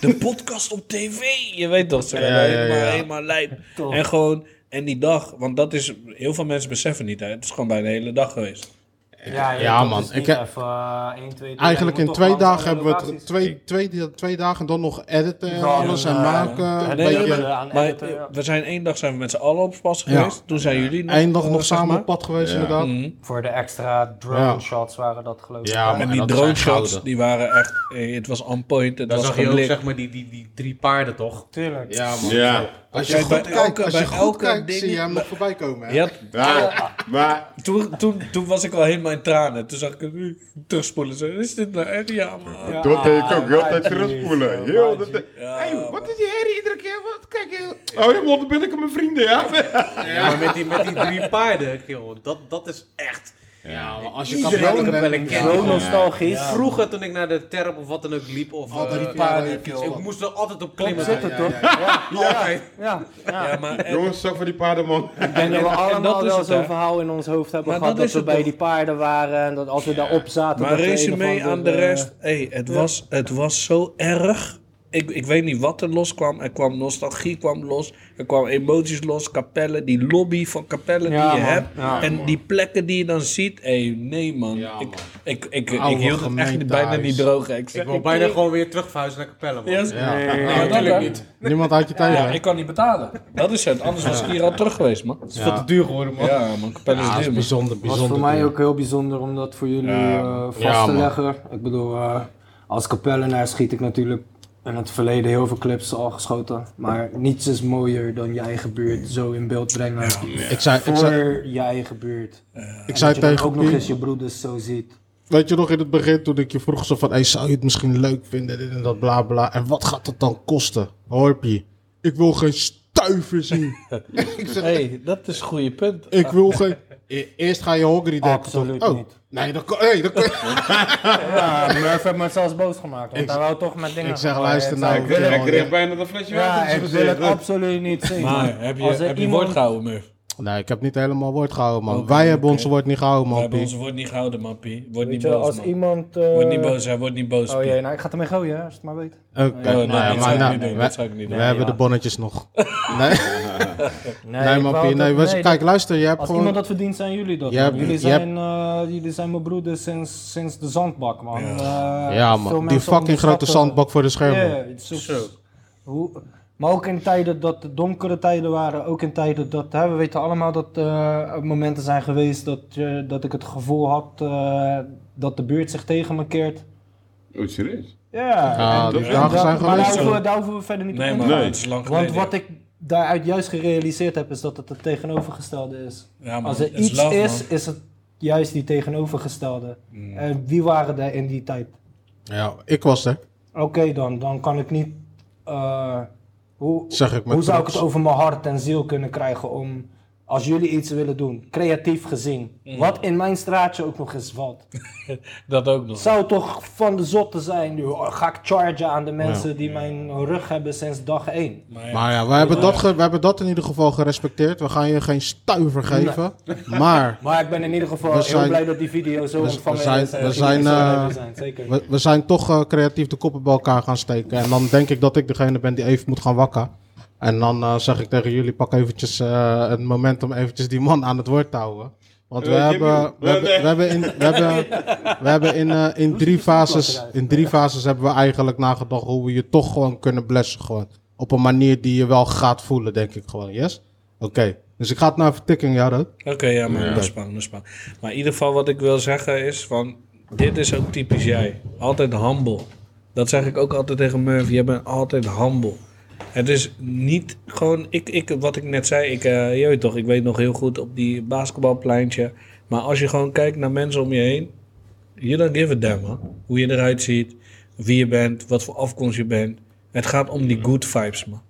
Speaker 4: de podcast op tv. Je weet toch, ze werden
Speaker 3: ja, ja.
Speaker 4: helemaal, helemaal lijp. En gewoon, en die dag, want dat is, heel veel mensen beseffen niet, hè. het is gewoon bijna de hele dag geweest.
Speaker 7: Ja,
Speaker 3: Ja, man, ik heb-
Speaker 10: eh,
Speaker 3: Eigenlijk in twee dagen hebben we het, twee, twee, twee dagen dan nog editen en alles en maken. Een
Speaker 4: nee,
Speaker 3: beetje,
Speaker 4: maar- Maar eh, we zijn één dag zijn we met z'n allen op spas
Speaker 3: Ja.
Speaker 4: geweest. Toen zijn jullie nog,
Speaker 3: Eén dag
Speaker 4: eh,
Speaker 3: nog
Speaker 4: zeg
Speaker 3: samen
Speaker 4: maar.
Speaker 3: op pad geweest inderdaad.
Speaker 4: Mhm.
Speaker 7: Voor de extra drone
Speaker 3: Ja.
Speaker 7: shots waren dat geloof ik.
Speaker 3: Ja,
Speaker 4: En
Speaker 3: man.
Speaker 4: die
Speaker 3: dat is
Speaker 4: drone
Speaker 3: echt
Speaker 4: shots,
Speaker 3: gouden.
Speaker 4: die waren echt, eh, het was on point, het
Speaker 5: Dan
Speaker 4: was
Speaker 5: zag je ook
Speaker 4: geblikt.
Speaker 5: zeg maar die, die, die drie paarden toch?
Speaker 7: tuurlijk.
Speaker 3: Ja, man.
Speaker 6: Ja.
Speaker 3: Als je
Speaker 4: Kijk,
Speaker 3: goed
Speaker 4: bij
Speaker 3: kijkt,
Speaker 4: elke-
Speaker 3: als je
Speaker 4: bij
Speaker 3: goed
Speaker 4: elke
Speaker 3: kijkt
Speaker 4: ding-
Speaker 3: zie je hem nog voorbij komen. Hè?
Speaker 4: Je had-
Speaker 6: Maar, maar
Speaker 4: toen, toen, toen was ik al helemaal in tranen. Toen zag ik het nu terugspoelen. Zo, is dit nou echt? Ja, man.
Speaker 7: Ja,
Speaker 6: dat deed ik ook. Heel de tijd
Speaker 7: jeez,
Speaker 6: terugspoelen.
Speaker 7: eh,
Speaker 6: Heel
Speaker 7: maar
Speaker 6: de tijd.
Speaker 4: Ja,
Speaker 6: Hey, wat is die herrie iedere keer? Wat? Kijk, heel- oh, je moet ben ik met mijn vrienden, ja?
Speaker 5: Ja, maar met die, met die drie paarden, kerel, dat, dat is echt.
Speaker 3: Ja, maar als je
Speaker 5: Iedereen
Speaker 3: kapellen
Speaker 5: kan wel
Speaker 3: bent,
Speaker 5: een
Speaker 3: ja.
Speaker 5: keer.
Speaker 7: Zo nostalgisch.
Speaker 5: Vroeger toen ik naar de terp of wat dan ook liep, of.
Speaker 3: Al die
Speaker 5: eh,
Speaker 3: paarden,
Speaker 5: ik
Speaker 3: joh.
Speaker 5: moest er altijd op klimmen.
Speaker 7: Zit het toch?
Speaker 5: Ja.
Speaker 10: Ja, ja.
Speaker 4: Ja, maar, en,
Speaker 6: Jongens, zak voor die paarden, man.
Speaker 10: Ik denk dat we allemaal
Speaker 4: dat is
Speaker 10: wel
Speaker 4: het,
Speaker 10: zo'n
Speaker 4: hè?
Speaker 10: verhaal in ons hoofd hebben
Speaker 4: Maar
Speaker 10: gehad.
Speaker 4: dat
Speaker 10: Dat,
Speaker 4: is
Speaker 10: we
Speaker 4: het
Speaker 10: bij
Speaker 4: toch?
Speaker 10: die paarden waren en dat als we daarop zaten...
Speaker 4: maar
Speaker 10: dat we een of
Speaker 4: resume
Speaker 10: andere-
Speaker 4: aan de rest. Hey, het, was, het was zo erg. Ik, ik weet niet wat er los kwam. Er kwam nostalgie kwam los. Er kwamen emoties los. Capelle, die lobby van Capelle
Speaker 10: Ja,
Speaker 4: die je
Speaker 10: man.
Speaker 4: hebt. en die plekken die je dan ziet. Hey, nee, man. ik, ik, ik, ik,
Speaker 3: Oude
Speaker 4: hield het echt niet- bijna
Speaker 3: gemeentehuis.
Speaker 4: niet droog. hè. Ik, zeg,
Speaker 5: Ik wil
Speaker 4: ik-
Speaker 5: bijna gewoon weer terug verhuizen naar Capelle. Man.
Speaker 4: Yes.
Speaker 3: Ja.
Speaker 4: Nee,
Speaker 5: Ja,
Speaker 4: dat
Speaker 5: natuurlijk
Speaker 4: hè.
Speaker 5: niet.
Speaker 3: Niemand had je tegen.
Speaker 4: Ja, ik kan niet betalen. Dat is het. Anders was ik hier al terug geweest, man.
Speaker 5: Het is veel te duur geworden, man.
Speaker 4: Ja, man, Capelle
Speaker 3: Ja,
Speaker 4: is
Speaker 3: dat is
Speaker 4: duur. man.
Speaker 3: bijzonder,
Speaker 10: was
Speaker 3: bijzonder.
Speaker 10: voor mij
Speaker 3: duur.
Speaker 10: ook heel bijzonder om dat voor jullie eh, vast
Speaker 3: Ja,
Speaker 10: te
Speaker 3: man.
Speaker 10: leggen. Ik bedoel, eh, als kapellenaar schiet ik natuurlijk in het verleden heel veel clips al geschoten. Maar niets is mooier dan je eigen buurt zo in beeld brengen.
Speaker 3: Ik zei,
Speaker 10: Voor
Speaker 3: ik zei,
Speaker 10: je eigen buurt.
Speaker 3: ik zei
Speaker 10: dat je dan
Speaker 3: tegen
Speaker 10: ook nog
Speaker 3: Pien,
Speaker 10: eens je broeders zo ziet.
Speaker 3: weet je nog in het begin toen ik je vroeg zo van, hey, zou je het misschien leuk vinden, dit en dat, bla bla. En wat gaat het dan kosten? Hoor je? Ik wil geen stuiver zien. ik zeg,
Speaker 4: hey, dat is een goede punt.
Speaker 3: ik wil geen... E- Eerst ga je hongry denken.
Speaker 10: Absoluut
Speaker 3: toch? oh,
Speaker 10: niet.
Speaker 3: Nee, dat kan... Hey, dat kan
Speaker 7: Ja, Murph heeft me zelfs boos gemaakt. Want
Speaker 3: Ik-
Speaker 7: hij wou toch met dingen...
Speaker 3: ik zeg,
Speaker 7: gooien.
Speaker 3: luister
Speaker 7: Ik
Speaker 3: nou,
Speaker 7: zei,
Speaker 3: ik
Speaker 7: wil
Speaker 3: wil-
Speaker 7: het-
Speaker 6: Ik kreeg bijna dat flesje
Speaker 7: Ja,
Speaker 6: water
Speaker 7: ik
Speaker 6: in
Speaker 7: wil
Speaker 6: zijn
Speaker 7: het
Speaker 6: gezicht.
Speaker 7: absoluut niet zien.
Speaker 4: Maar eh, heb je,
Speaker 7: Als er
Speaker 4: heb je
Speaker 7: iemand-
Speaker 4: woord gehouden, Murph?
Speaker 3: nee, ik heb niet helemaal woord gehouden, man. Wij hebben ons woord niet gehouden,
Speaker 4: We
Speaker 3: man.
Speaker 4: hebben
Speaker 3: Pien.
Speaker 4: ons woord niet gehouden, mappie. Word
Speaker 7: Weet
Speaker 4: niet
Speaker 7: je,
Speaker 4: boos,
Speaker 7: als
Speaker 4: man.
Speaker 7: iemand... eh,
Speaker 4: Word niet boos, hij wordt niet boos.
Speaker 7: Oh
Speaker 4: Piet.
Speaker 7: jee, nou ik ga het ermee gooien hè, als je het maar weet.
Speaker 3: Oké,
Speaker 4: Oh, nee,
Speaker 3: nou ja,
Speaker 4: dat
Speaker 3: maar
Speaker 4: zou ik
Speaker 3: nou,
Speaker 4: niet doen.
Speaker 3: wij-
Speaker 4: Dat zou ik niet
Speaker 3: we
Speaker 4: doen.
Speaker 3: hebben
Speaker 7: ja.
Speaker 3: de bonnetjes nog. Nee,
Speaker 7: Nee,
Speaker 3: nee
Speaker 7: ik
Speaker 3: man,
Speaker 7: wou
Speaker 3: Pien,
Speaker 7: dat-
Speaker 3: nee, we-
Speaker 7: dat-
Speaker 3: kijk, luister, je hebt
Speaker 7: Als
Speaker 3: gewoon...
Speaker 7: iemand dat verdient, zijn jullie dat.
Speaker 3: Je
Speaker 7: man.
Speaker 3: hebt-
Speaker 7: jullie,
Speaker 3: je
Speaker 7: zijn, eh, jullie zijn mijn broeders sinds, sinds de zandbak, man. Eh,
Speaker 3: Ja,
Speaker 7: veel
Speaker 3: man. Die
Speaker 7: mensen
Speaker 3: fucking grote
Speaker 7: onderschatten-
Speaker 3: zandbak voor de
Speaker 7: Ja,
Speaker 3: schermen.
Speaker 7: het is ook- hoe- maar ook in tijden dat de donkere tijden waren, ook in tijden dat, hè, we weten allemaal dat eh, er momenten zijn geweest dat, je- dat ik het gevoel had eh, dat de buurt zich tegen me keert.
Speaker 6: Oh, serieus?
Speaker 7: Ja,
Speaker 3: Ja,
Speaker 7: en-
Speaker 3: die
Speaker 7: en
Speaker 3: dagen
Speaker 7: dat-
Speaker 3: zijn
Speaker 7: Maar daar
Speaker 3: geweest,
Speaker 7: hoeven,
Speaker 4: hoor.
Speaker 7: we- daar hoeven we verder niet
Speaker 4: Nee,
Speaker 7: op in
Speaker 4: maar
Speaker 7: te
Speaker 6: Nee.
Speaker 4: het is lang
Speaker 7: gaan. Want
Speaker 4: geleden.
Speaker 7: wat ik daaruit juist gerealiseerd heb, is dat het het tegenovergestelde is.
Speaker 4: Ja, man,
Speaker 7: Als er
Speaker 4: het is
Speaker 7: iets
Speaker 4: love,
Speaker 7: is,
Speaker 4: man. Mm.
Speaker 7: is het juist die tegenovergestelde. En wie waren er in die tijd?
Speaker 3: Ja, ik was er.
Speaker 7: Oké, dan, dan kan ik niet. eh, hoe
Speaker 3: Zeg ik met
Speaker 7: hoe zou ik
Speaker 3: trots.
Speaker 7: het over mijn hart en ziel kunnen krijgen om. Als jullie iets willen doen, creatief gezien,
Speaker 4: Mm.
Speaker 7: wat in mijn straatje ook nog eens valt.
Speaker 4: Dat ook nog.
Speaker 7: Zou toch van de zotte zijn, joh, ga ik chargen aan de mensen die mijn rug hebben sinds dag één.
Speaker 4: Maar ja,
Speaker 3: Maar ja, we hebben, dat ge- we hebben dat in ieder geval gerespecteerd. We gaan je geen stuiver geven. Maar
Speaker 7: Maar ik ben in ieder geval
Speaker 3: We
Speaker 7: heel
Speaker 3: zijn-
Speaker 7: blij dat die video zo
Speaker 3: we
Speaker 7: ontvangen
Speaker 3: zijn-
Speaker 7: is. en
Speaker 3: we
Speaker 7: dat jullie
Speaker 3: zijn,
Speaker 7: zo blij
Speaker 3: eh,
Speaker 7: mee zijn, zeker.
Speaker 3: we, we zijn toch eh, creatief de koppen bij elkaar gaan steken. En dan denk ik dat ik degene ben die even moet gaan wakken. En dan eh, zeg ik tegen jullie, pak eventjes eh, het moment om eventjes die man aan het woord te houden. Want we
Speaker 6: Eh, Jimmy.
Speaker 3: hebben, we
Speaker 6: Eh,
Speaker 3: hebben,
Speaker 6: nee.
Speaker 3: we hebben, in, we hebben, we hebben in, eh, in, drie fases, in drie fases hebben we eigenlijk nagedacht hoe we je toch gewoon kunnen blessen. Gewoon. Op een manier die je wel gaat voelen, denk ik gewoon. Yes? Oké. Dus ik ga het naar vertikking, ja, Rood?
Speaker 4: Oké, ja, maar dat is spannend, dat is spannend. Maar in ieder geval wat ik wil zeggen is van... Dit is ook typisch jij. Altijd humble. Dat zeg ik ook altijd tegen Murphy. Jij bent altijd humble. Het is niet gewoon... Ik, ik, wat ik net zei, ik, eh, je weet toch, ik weet nog heel goed op die basketbalpleintje. Maar als je gewoon kijkt naar mensen om je heen... You don't give a damn, man. Hoe je eruit ziet, wie je bent, wat voor afkomst je bent. Het gaat om die good vibes, man.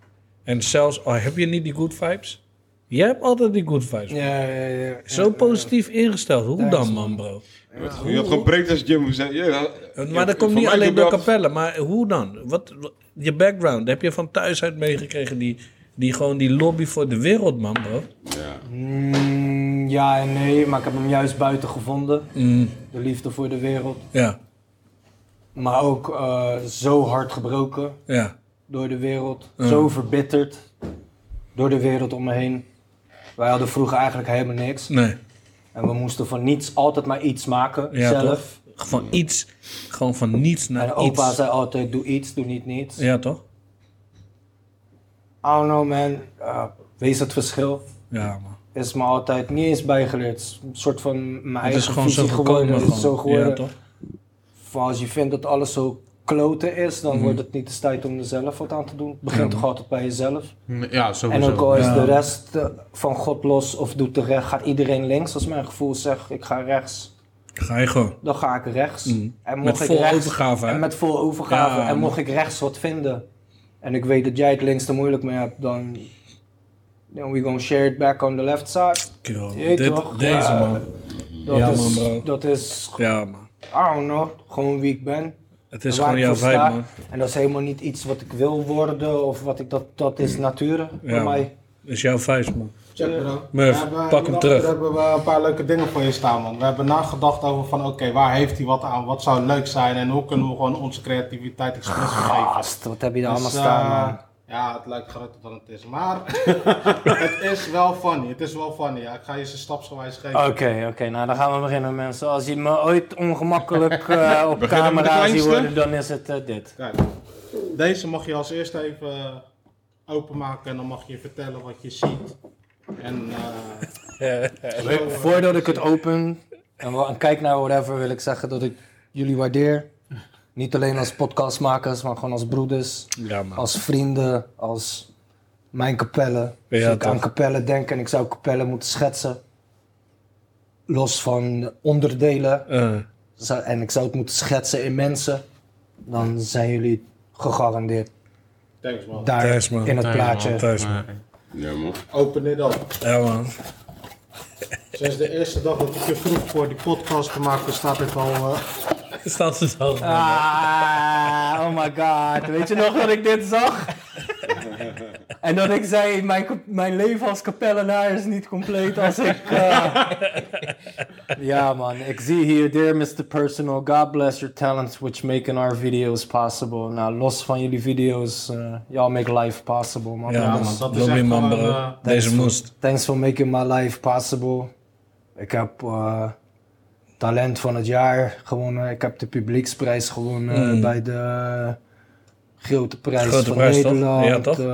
Speaker 4: En zelfs al heb je niet die good vibes... Jij hebt altijd die good vibes,
Speaker 7: Ja, ja, ja.
Speaker 4: zo positief ingesteld. Hoe dan, man, bro?
Speaker 6: Je had gewoon breed als Jim gezegd. Ja,
Speaker 4: Maar dat komt
Speaker 6: Voor
Speaker 4: niet
Speaker 6: mij
Speaker 4: alleen
Speaker 6: doet
Speaker 4: door
Speaker 6: dat-
Speaker 4: Capelle, maar hoe dan? Wat, wat- je background, heb je van thuis uit meegekregen die, die gewoon die lobby voor de wereld, man, bro?
Speaker 10: Mm, ja en
Speaker 4: Mm,
Speaker 10: nee, maar ik heb hem juist buiten gevonden. De liefde voor de wereld.
Speaker 4: Ja.
Speaker 7: Maar ook eh, zo hard gebroken
Speaker 4: Ja.
Speaker 7: door de wereld.
Speaker 4: Ja.
Speaker 7: Zo verbitterd door de wereld om me heen. Wij hadden vroeger eigenlijk helemaal niks.
Speaker 4: Nee.
Speaker 7: En we moesten van niets altijd maar iets maken
Speaker 4: Ja,
Speaker 7: zelf.
Speaker 4: Van iets. Gewoon van niets naar
Speaker 7: En opa
Speaker 4: iets.
Speaker 7: zei altijd, doe iets, doe niet niets.
Speaker 4: Ja, toch?
Speaker 7: I don't know man, Eh, wees het verschil.
Speaker 4: Ja, man.
Speaker 7: Is me altijd niet eens bijgeleerd. Is Een soort van mijn
Speaker 4: Het
Speaker 7: eigen
Speaker 4: is gewoon zo
Speaker 7: visie
Speaker 4: gekomen.
Speaker 7: geworden. Het
Speaker 4: Gewoon.
Speaker 7: is zo geworden.
Speaker 4: Ja, toch?
Speaker 7: Van als je vindt dat alles zo kloten is,
Speaker 4: Mhm.
Speaker 7: dan wordt het niet de tijd om er zelf wat aan te doen. Het begint toch altijd bij jezelf.
Speaker 5: Ja, sowieso.
Speaker 7: En ook al is
Speaker 4: Ja.
Speaker 7: de rest eh, van God los of doet de recht, gaat iedereen links. Als mijn gevoel zegt, ik ga rechts,
Speaker 4: Ga je gewoon.
Speaker 7: dan ga ik rechts. En
Speaker 4: Mhm. Met
Speaker 7: mocht ik
Speaker 4: vol
Speaker 7: rechts,
Speaker 4: overgave, hè?
Speaker 7: En met vol overgave.
Speaker 4: Ja,
Speaker 7: en
Speaker 4: man.
Speaker 7: mocht ik rechts wat vinden, en ik weet dat jij het links te moeilijk mee hebt, dan... Then we gonna share it back on the left side.
Speaker 4: Kill.
Speaker 7: Jeet
Speaker 4: Dit,
Speaker 7: toch?
Speaker 4: deze,
Speaker 7: Ja.
Speaker 4: man.
Speaker 7: Dat
Speaker 4: Ja,
Speaker 7: is,
Speaker 4: man, bro.
Speaker 7: Dat is,
Speaker 4: Ja, man.
Speaker 7: I don't know, gewoon wie ik ben.
Speaker 4: Het is
Speaker 7: Waar
Speaker 4: gewoon
Speaker 7: ik
Speaker 4: jouw
Speaker 7: voor sta.
Speaker 4: vibe, man.
Speaker 7: En dat is helemaal niet iets wat ik wil worden of wat ik dat, dat is nature
Speaker 4: Mm. Ja,
Speaker 7: voor mij.
Speaker 4: Het is jouw vibe, man.
Speaker 3: Check bro.
Speaker 4: Murph,
Speaker 3: We hebben-
Speaker 4: pak hem
Speaker 3: hierachter
Speaker 4: terug.
Speaker 3: hebben we een paar leuke dingen voor je staan, man. We hebben nagedacht over van, oké, waar heeft hij wat aan? Wat zou leuk zijn? En hoe kunnen we gewoon onze creativiteit expressie geven?
Speaker 7: Gast, wat heb je daar
Speaker 3: Dus,
Speaker 7: Ah, allemaal staan,
Speaker 3: eh,
Speaker 7: man.
Speaker 3: Ja, het lijkt groter dan het is. Maar het is wel funny. Het is wel funny. Ja. Ik ga je ze stapsgewijs geven.
Speaker 7: Oké, oké, nou dan gaan we beginnen mensen. Als je me ooit ongemakkelijk eh, op
Speaker 11: Beginnen met de
Speaker 7: camera ziet
Speaker 11: kleinste.
Speaker 7: worden, dan is het eh, dit.
Speaker 3: Kijk, deze mag je als eerste even eh, openmaken. En dan mag je vertellen wat je ziet. En eh,
Speaker 7: We- Voordat ik het open en, wa- en kijk naar whatever, wil ik zeggen dat ik jullie waardeer. Niet alleen als podcastmakers, maar gewoon als broeders,
Speaker 4: Ja, man.
Speaker 7: als vrienden, als mijn kapellen. Als
Speaker 4: Ja,
Speaker 7: ik
Speaker 4: toch.
Speaker 7: aan kapellen denk en ik zou kapellen moeten schetsen. Los van onderdelen.
Speaker 4: Eh,
Speaker 7: zou- en ik zou het moeten schetsen in mensen, dan zijn jullie gegarandeerd
Speaker 3: thanks man.
Speaker 7: daar
Speaker 4: Thuis, man.
Speaker 7: in het
Speaker 5: Nee,
Speaker 7: plaatje.
Speaker 5: man,
Speaker 4: thuis, man.
Speaker 5: nee.
Speaker 6: Ja, man.
Speaker 3: Open dit op.
Speaker 4: Ja, man.
Speaker 3: Sinds de eerste dag dat ik je vroeg voor die podcast te maken, staat dit al. eh,
Speaker 4: Staat het al?
Speaker 7: Ah, oh my god. Weet je nog dat ik dit zag? en dat ik zei, mijn, kap- mijn leven als kapellenaar is niet compleet als ik... eh, ja man, ik zie hier, dear Mr. Personal, God bless your talents which making our videos possible. Nou, los van jullie video's, eh, y'all make life possible man.
Speaker 4: Ja,
Speaker 3: Ja,
Speaker 4: man.
Speaker 3: man, dat is
Speaker 4: Lobby,
Speaker 3: echt
Speaker 4: man,
Speaker 3: gewoon,
Speaker 4: bro.
Speaker 3: eh,
Speaker 4: Deze moest.
Speaker 7: Thanks for making my life possible. Ik heb eh, talent van het jaar gewonnen. Ik heb de publieksprijs gewonnen
Speaker 4: Mm.
Speaker 7: bij de grote prijs
Speaker 4: Grote
Speaker 7: van
Speaker 4: prijs, toch?
Speaker 7: Nederland.
Speaker 4: Ja, toch?
Speaker 7: Eh,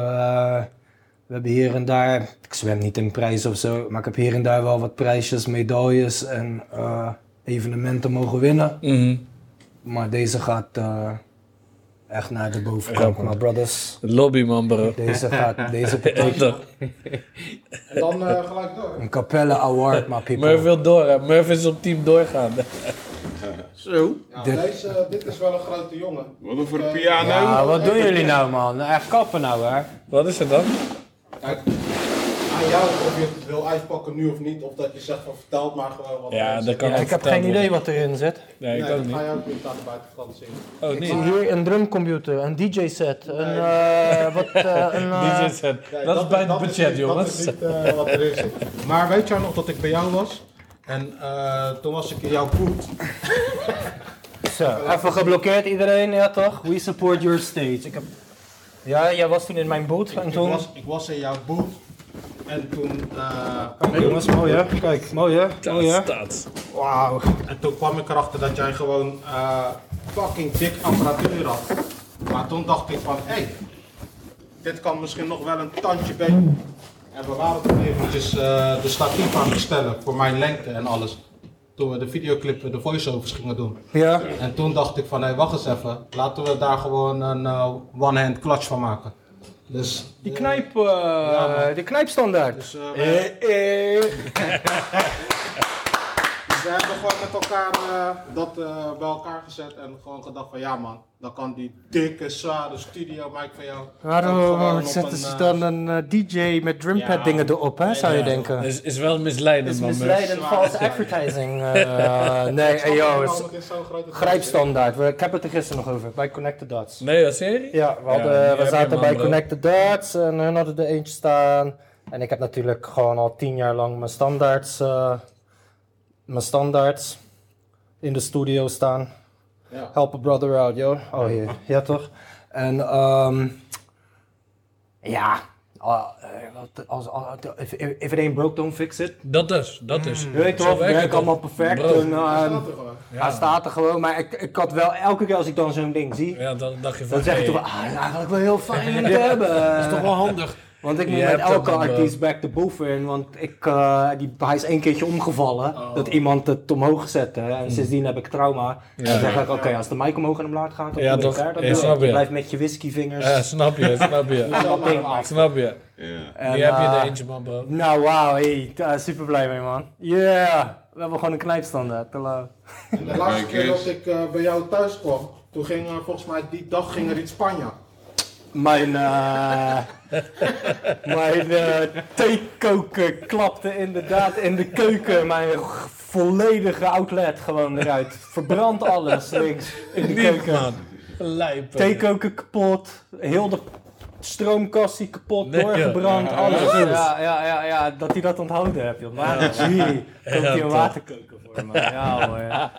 Speaker 7: we hebben hier en daar, ik zwem niet in prijs of zo, maar ik heb hier en daar wel wat prijsjes, medailles en eh, evenementen mogen winnen.
Speaker 4: Mhm.
Speaker 7: Maar deze gaat eh, echt naar de bovenkant,
Speaker 4: man.
Speaker 7: my brothers.
Speaker 4: Lobby, man, bro.
Speaker 7: Deze gaat, deze betekent
Speaker 3: En dan eh, gelijk door.
Speaker 7: een Capelle Award, my people.
Speaker 4: Murph wil door, hè. Murph is op team doorgaan.
Speaker 3: Ja,
Speaker 7: Dit-
Speaker 3: Deze, eh, dit is wel een grote jongen.
Speaker 6: Wat dan voor de piano?
Speaker 7: Ja, wat doen jullie nou, man? Echt kappen nou, hè?
Speaker 4: Wat is er dan?
Speaker 3: Kijk, aan jou of je het wil uitpakken nu of niet, of dat je zegt van vertel maar gewoon wat.
Speaker 4: Ja,
Speaker 3: mensen-
Speaker 4: dat kan
Speaker 7: Ja,
Speaker 4: ook
Speaker 7: ik heb
Speaker 4: verteld
Speaker 7: geen idee
Speaker 4: worden.
Speaker 7: wat erin zit.
Speaker 4: Nee, ik
Speaker 3: Nee,
Speaker 4: ook
Speaker 3: dat ga
Speaker 4: niet.
Speaker 3: je ook niet aan de buitenkant zien.
Speaker 4: Oh,
Speaker 7: Ik zie
Speaker 4: niet.
Speaker 7: hier een drumcomputer, een DJ-set, een... eh, wat, eh, een eh,
Speaker 4: Die zit het.
Speaker 3: Nee,
Speaker 4: Dat is bij het
Speaker 3: dat
Speaker 4: budget,
Speaker 3: niet- Dat
Speaker 4: jongens.
Speaker 3: is niet eh, wat erin zit. Maar weet jij nog dat ik bij jou was? En eh, toen was ik in jouw koet.
Speaker 7: zo, even geblokkeerd iedereen, ja toch? We support your stage. Ik heb... Ja, jij was toen in mijn boot en
Speaker 3: Ik
Speaker 7: toen...
Speaker 3: was, ik was in jouw boot. En toen, eh,
Speaker 7: Kijk, jongens, mooi hè? Kijk, mooi hè? Mooi hè?
Speaker 4: Dat staat.
Speaker 3: wauw. en toen kwam ik erachter dat jij gewoon eh, fucking dik apparatuur had. Maar toen dacht ik van, hé, hey, dit kan misschien nog wel een tandje beter. En we waren toen eventjes eh, de statief aan het stellen voor mijn lengte en alles. Toen we de videoclip, eh, de voiceovers gingen doen.
Speaker 7: Ja.
Speaker 3: En toen dacht ik van, hé, wacht eens even. Laten we daar gewoon een eh, one-hand clutch van maken. Dus,
Speaker 7: Die knijp... eh, de knijpstandaard.
Speaker 3: dus eh, we-
Speaker 7: Eh, eh.
Speaker 3: Ze hebben gewoon met elkaar eh, dat eh, bij elkaar gezet en gewoon gedacht van ja man, dan kan die dikke, zware studio mic van jou. kan gewoon
Speaker 7: Waarom
Speaker 3: op
Speaker 7: zetten
Speaker 3: een,
Speaker 7: ze
Speaker 3: eh,
Speaker 7: dan een eh, DJ met drumpad
Speaker 3: Ja.
Speaker 7: dingen erop, hè, zou je
Speaker 4: Ja,
Speaker 7: denken?
Speaker 4: Is, is wel misleidend, man, Murph.
Speaker 3: misleidend, false
Speaker 7: advertising. eh, nee, hey, yo,
Speaker 3: Waarom
Speaker 7: het is
Speaker 3: het in zo'n grote
Speaker 7: grijpstandaard. We- Ik heb het er gisteren nog over, bij Connect the Dots.
Speaker 4: Nee, dat serie?
Speaker 7: Ja, we,
Speaker 4: Ja,
Speaker 7: hadden,
Speaker 4: die heb
Speaker 7: we
Speaker 4: je, eh.
Speaker 7: zaten
Speaker 4: man,
Speaker 7: bij
Speaker 4: bro.
Speaker 7: Connect the Dots en hun hadden er eentje staan. En ik heb natuurlijk gewoon al tien jaar lang mijn standaards, eh, mijn standaards in de studio staan.
Speaker 3: ding Ja.
Speaker 7: Help a brother out, joh. Oh, ja, ja toch? En ehm ja, ah, eh, wat- als, als, if, if it ain't broke, don't fix it.
Speaker 4: Dat is, dat is.
Speaker 7: Je weet
Speaker 4: Zo
Speaker 7: toch,
Speaker 4: werkt
Speaker 7: werk
Speaker 4: het.
Speaker 7: allemaal perfect.
Speaker 4: Bro.
Speaker 7: En, ehm,
Speaker 4: Ja.
Speaker 7: Hij staat er gewoon, maar ik, ik had wel elke keer als ik dan zo'n ding zie,
Speaker 4: Ja, dan dacht je van...
Speaker 7: dan zeg ik
Speaker 4: hey,
Speaker 7: toch wel, ah, dat is eigenlijk wel heel fijn om te hebben. Dat is toch wel handig. Want ik moet
Speaker 4: Je
Speaker 7: met
Speaker 4: hebt
Speaker 7: elke
Speaker 4: dat dan, eh,
Speaker 7: artiest back de boven in, want ik, eh, die, hij is één keertje omgevallen,
Speaker 4: Oh.
Speaker 7: dat iemand het omhoog zette.
Speaker 4: Hmm.
Speaker 7: En sindsdien heb ik trauma. En dan zeg ik, oké, als de mic omhoog en omlaag gaat, dan
Speaker 4: Ja,
Speaker 7: ja,
Speaker 4: toch.
Speaker 7: ik daar. Dan
Speaker 4: Ja,
Speaker 7: doe ik.
Speaker 4: snap je.
Speaker 7: Je blijft met je whiskyvingers.
Speaker 4: eh, snap je, snap je.
Speaker 7: dat ding af.
Speaker 4: snap je.
Speaker 7: En,
Speaker 4: Die heb je
Speaker 7: eh,
Speaker 4: er eentje, man, bro.
Speaker 7: Nou, wauw, hey, daar super blij mee, man. Yeah, we hebben gewoon een knijpstandaard. te lauw.
Speaker 3: En de laatste keer dat ik eh, bij jou thuis kwam, toen ging eh, volgens mij die dag ging er in Spanje.
Speaker 7: Mijn, eh mijn eh, theekoker klapte inderdaad in de keuken. Mijn volledige outlet gewoon eruit. Verbrand alles links in de
Speaker 4: Niet,
Speaker 7: keuken.
Speaker 4: man. Lijp. hè.
Speaker 7: Theekoker kapot. Heel de stroomkastie kapot.
Speaker 4: Nee, joh.
Speaker 7: doorgebrand. Alles. Ja, ja, ja, ja, dat hij dat onthouden heeft. Joh. Maar gee, koopt hij een
Speaker 4: toch.
Speaker 7: waterkoker voor me. Ja hoor. Ja,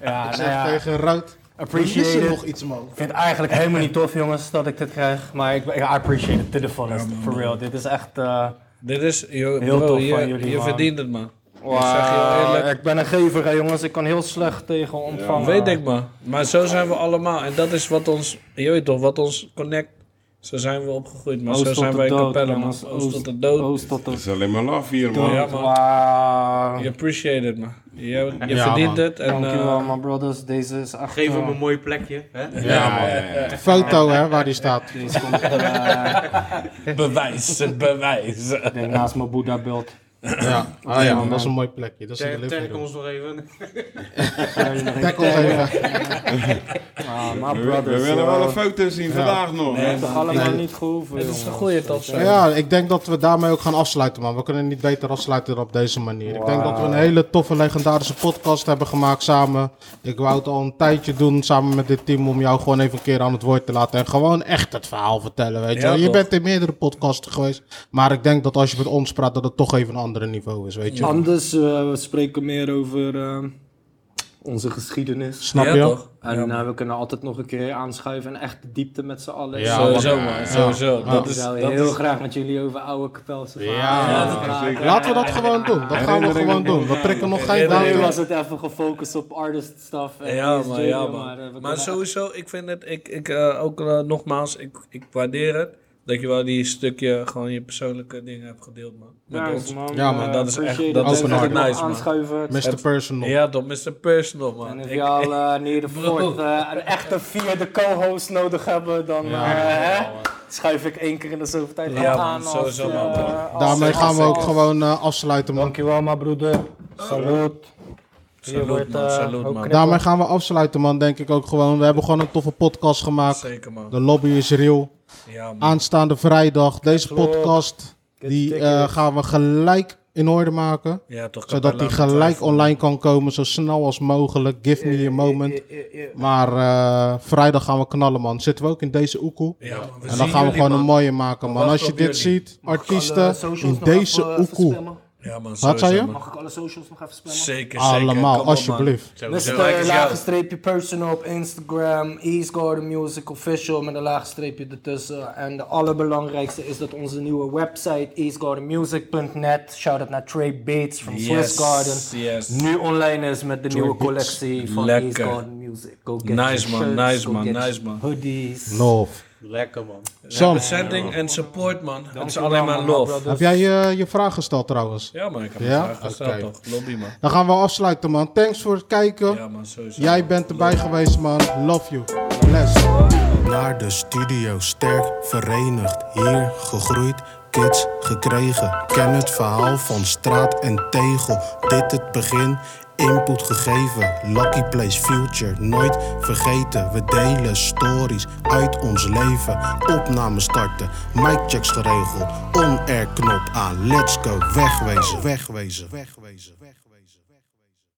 Speaker 3: Ik
Speaker 7: nou
Speaker 3: zeg
Speaker 7: ja.
Speaker 3: tegen Ruud,
Speaker 7: Appreciate
Speaker 3: verlies er
Speaker 7: it.
Speaker 3: nog iets man.
Speaker 7: Ik vind het eigenlijk helemaal niet tof, jongens, dat ik dit krijg. Maar ik, ik I appreciate it to the fullest, for real. Dit is echt... eh
Speaker 4: Dit is... Yo,
Speaker 7: Heel
Speaker 4: bro,
Speaker 7: tof
Speaker 4: je,
Speaker 7: van jullie,
Speaker 4: je
Speaker 7: man.
Speaker 4: verdient het, man.
Speaker 7: wow, eh, ik,
Speaker 4: zeg je heel eerlijk.
Speaker 7: ben een gever, hè, jongens. Ik kan heel slecht tegen ontvangen.
Speaker 4: Weet ik maar. Maar zo zijn we allemaal. En dat is wat ons, je weet toch, wat ons connect. Zo zijn we opgegroeid. Maar
Speaker 7: Oost
Speaker 4: zo
Speaker 7: tot
Speaker 4: zijn
Speaker 7: de
Speaker 4: wij
Speaker 7: dood,
Speaker 4: Capelle, man.
Speaker 7: jongens.
Speaker 4: Oost,
Speaker 7: Oost-
Speaker 4: tot de dood.
Speaker 7: Oost
Speaker 6: Het
Speaker 7: tot de...
Speaker 6: is alleen maar laf hier, man.
Speaker 4: Ja, man.
Speaker 7: Wauw.
Speaker 4: Je appreciate it, man. Je, je
Speaker 3: Ja,
Speaker 4: verdient
Speaker 3: man.
Speaker 4: het. En,
Speaker 7: Dankjewel,
Speaker 4: eh,
Speaker 7: my brothers. Deze is echt...
Speaker 5: Geef
Speaker 7: eh,
Speaker 5: hem een mooi plekje. Hè?
Speaker 6: Ja, man. Ja, ja.
Speaker 3: De foto hè, waar die staat.
Speaker 7: Deze komt er, eh,
Speaker 4: bewijs, het bewijs.
Speaker 7: ik denk naast mijn Boeddha-beeld.
Speaker 3: Ja. Ah ja, man, dat is een mooi plekje. Dat is in de living
Speaker 5: Tag tag
Speaker 3: room.
Speaker 5: ons nog even.
Speaker 3: Tag ons even.
Speaker 7: Ah,
Speaker 6: We,
Speaker 7: my
Speaker 6: we
Speaker 7: brothers,
Speaker 6: willen wel
Speaker 7: joh.
Speaker 6: een foto zien vandaag nog.
Speaker 7: Het heeft toch allemaal
Speaker 3: Nee.
Speaker 7: niet gehoeven,
Speaker 4: Het is
Speaker 7: jongens.
Speaker 4: gegooid als zo.
Speaker 3: Ja, ik denk dat we daarmee ook gaan afsluiten, man. We kunnen niet beter afsluiten dan op deze manier. Ik denk dat we een hele toffe, legendarische podcast hebben gemaakt samen. Ik wou het al een tijdje doen samen met dit team om jou gewoon even een keer aan het woord te laten. En gewoon echt het verhaal vertellen, weet je
Speaker 4: Ja,
Speaker 3: wel. Je
Speaker 4: toch.
Speaker 3: bent in meerdere podcasten geweest. Maar ik denk dat als je met ons praat, dat het toch even een ander niveau is, weet je.
Speaker 10: Anders eh, we spreken meer over eh, onze geschiedenis.
Speaker 3: Snap
Speaker 4: Ja,
Speaker 3: je?
Speaker 4: toch?
Speaker 10: En
Speaker 4: Ja,
Speaker 10: eh, we kunnen altijd nog een keer aanschuiven en echt de diepte met z'n allen.
Speaker 3: Ja,
Speaker 4: sowieso, man. Sowieso. Dat
Speaker 10: Ik
Speaker 4: is,
Speaker 10: zou
Speaker 4: dat
Speaker 10: heel
Speaker 4: is,
Speaker 10: graag met jullie over oude kapelse
Speaker 3: Ja, Laten we dat gewoon doen. Dat gaan we
Speaker 6: Herinneringen
Speaker 3: gewoon doen. We prikken nog geen
Speaker 4: Herinneringen.
Speaker 10: Nu
Speaker 3: datum.
Speaker 10: was het even gefocust op artist stuff. En
Speaker 4: ja,
Speaker 10: ESG,
Speaker 4: man, ja,
Speaker 10: eh, we
Speaker 4: man. Maar
Speaker 10: kunnen
Speaker 4: sowieso, ik vind het, ik, ik eh, ook eh, nogmaals, ik, ik waardeer het. Dat je wel die stukje, gewoon je persoonlijke dingen hebt gedeeld, man. Met
Speaker 10: echt-
Speaker 4: ons.
Speaker 10: man,
Speaker 3: Ja, man,
Speaker 10: eh,
Speaker 4: dat is echt-
Speaker 10: appreciate
Speaker 4: dat
Speaker 10: it.
Speaker 3: is
Speaker 10: Even
Speaker 3: echt
Speaker 10: nog
Speaker 4: nice, man.
Speaker 10: Aanschuiven.
Speaker 3: Mr. Personal.
Speaker 4: Ja, toch, Mr. Personal,
Speaker 7: En
Speaker 4: man.
Speaker 7: als
Speaker 4: Ik-
Speaker 7: jou eh, neer de
Speaker 4: Bro.
Speaker 7: voort eh, een echte vierde co-host nodig hebben, dan eh, hè, schuif ik één keer in de zoveel tijd
Speaker 4: Ja,
Speaker 7: aan.
Speaker 4: man, sowieso,
Speaker 7: eh,
Speaker 4: man, bro.
Speaker 7: als-
Speaker 3: Daarmee
Speaker 7: als-
Speaker 3: gaan we ook
Speaker 7: als-
Speaker 3: gewoon eh, afsluiten, man.
Speaker 7: Dankjewel, mijn broeder. Salut.
Speaker 4: Salut, man,
Speaker 7: eh,
Speaker 4: salut,
Speaker 7: ook
Speaker 4: man.
Speaker 7: knippen.
Speaker 3: Daarmee gaan we afsluiten, man. Denk ik ook gewoon. We hebben gewoon een toffe podcast gemaakt.
Speaker 4: Zeker, man.
Speaker 3: De lobby is real.
Speaker 4: Ja, man.
Speaker 3: Aanstaande vrijdag. Deze podcast
Speaker 7: Get
Speaker 3: die, eh,
Speaker 7: tickets.
Speaker 3: gaan we gelijk in orde maken.
Speaker 4: Ja, toch.
Speaker 3: Zodat die gelijk online kan komen. Zo snel als mogelijk. Give me a moment. Maar eh, vrijdag gaan we knallen, man. Zitten we ook in deze oekoe.
Speaker 4: Ja, man, we
Speaker 3: En dan gaan we gewoon een mooie maken, man.
Speaker 4: wacht
Speaker 3: Als je
Speaker 4: op
Speaker 3: dit
Speaker 4: jullie.
Speaker 3: ziet, artiesten in
Speaker 7: eh,
Speaker 3: deze oekoe.
Speaker 4: Ja, man,
Speaker 3: Wat zei je?
Speaker 7: Mag ik alle socials nog even spammen?
Speaker 4: Zeker,
Speaker 3: Allemaal, alsjeblieft.
Speaker 7: Mr. Laagstreepje personal op Instagram, East Garden Music Official met een laagstreepje ertussen. En de allerbelangrijkste is dat onze nieuwe website eastgardenmusic.net, shout-out naar Trey Bates van Swiss Garden,
Speaker 4: Yes.
Speaker 7: nu online is met de nieuwe collectie van
Speaker 4: Lekker.
Speaker 7: East Garden Music. Go get
Speaker 4: Nice,
Speaker 7: your
Speaker 4: man,
Speaker 7: shirts,
Speaker 4: nice,
Speaker 7: go
Speaker 4: man,
Speaker 7: get your
Speaker 4: nice, man.
Speaker 7: Hoodies.
Speaker 3: Love.
Speaker 5: Lekker man.
Speaker 3: Sam,
Speaker 4: Representing en support, man. Het is
Speaker 7: Dankjewel,
Speaker 4: alleen maar
Speaker 7: man, my
Speaker 4: love.
Speaker 7: brother.
Speaker 3: heb jij eh, je vraag gesteld trouwens?
Speaker 4: Ja, man, ik heb
Speaker 3: Ja?
Speaker 4: het graag gesteld,
Speaker 3: Oké.
Speaker 4: toch? Lobby, man.
Speaker 3: Dan gaan we afsluiten, man. Thanks voor het kijken.
Speaker 4: Ja, man, sowieso.
Speaker 3: Jij bent erbij geweest, man. Love you. Bless.
Speaker 12: Naar de studio, sterk verenigd. Hier gegroeid, kids gekregen. Ken het verhaal van straat en tegel. Dit het begin, input gegeven. Lucky Place Future, nooit vergeten. We delen stories uit ons leven. Opname starten, micchecks geregeld. On-air knop aan, let's go. Wegwezen, wegwezen, wegwezen, wegwezen.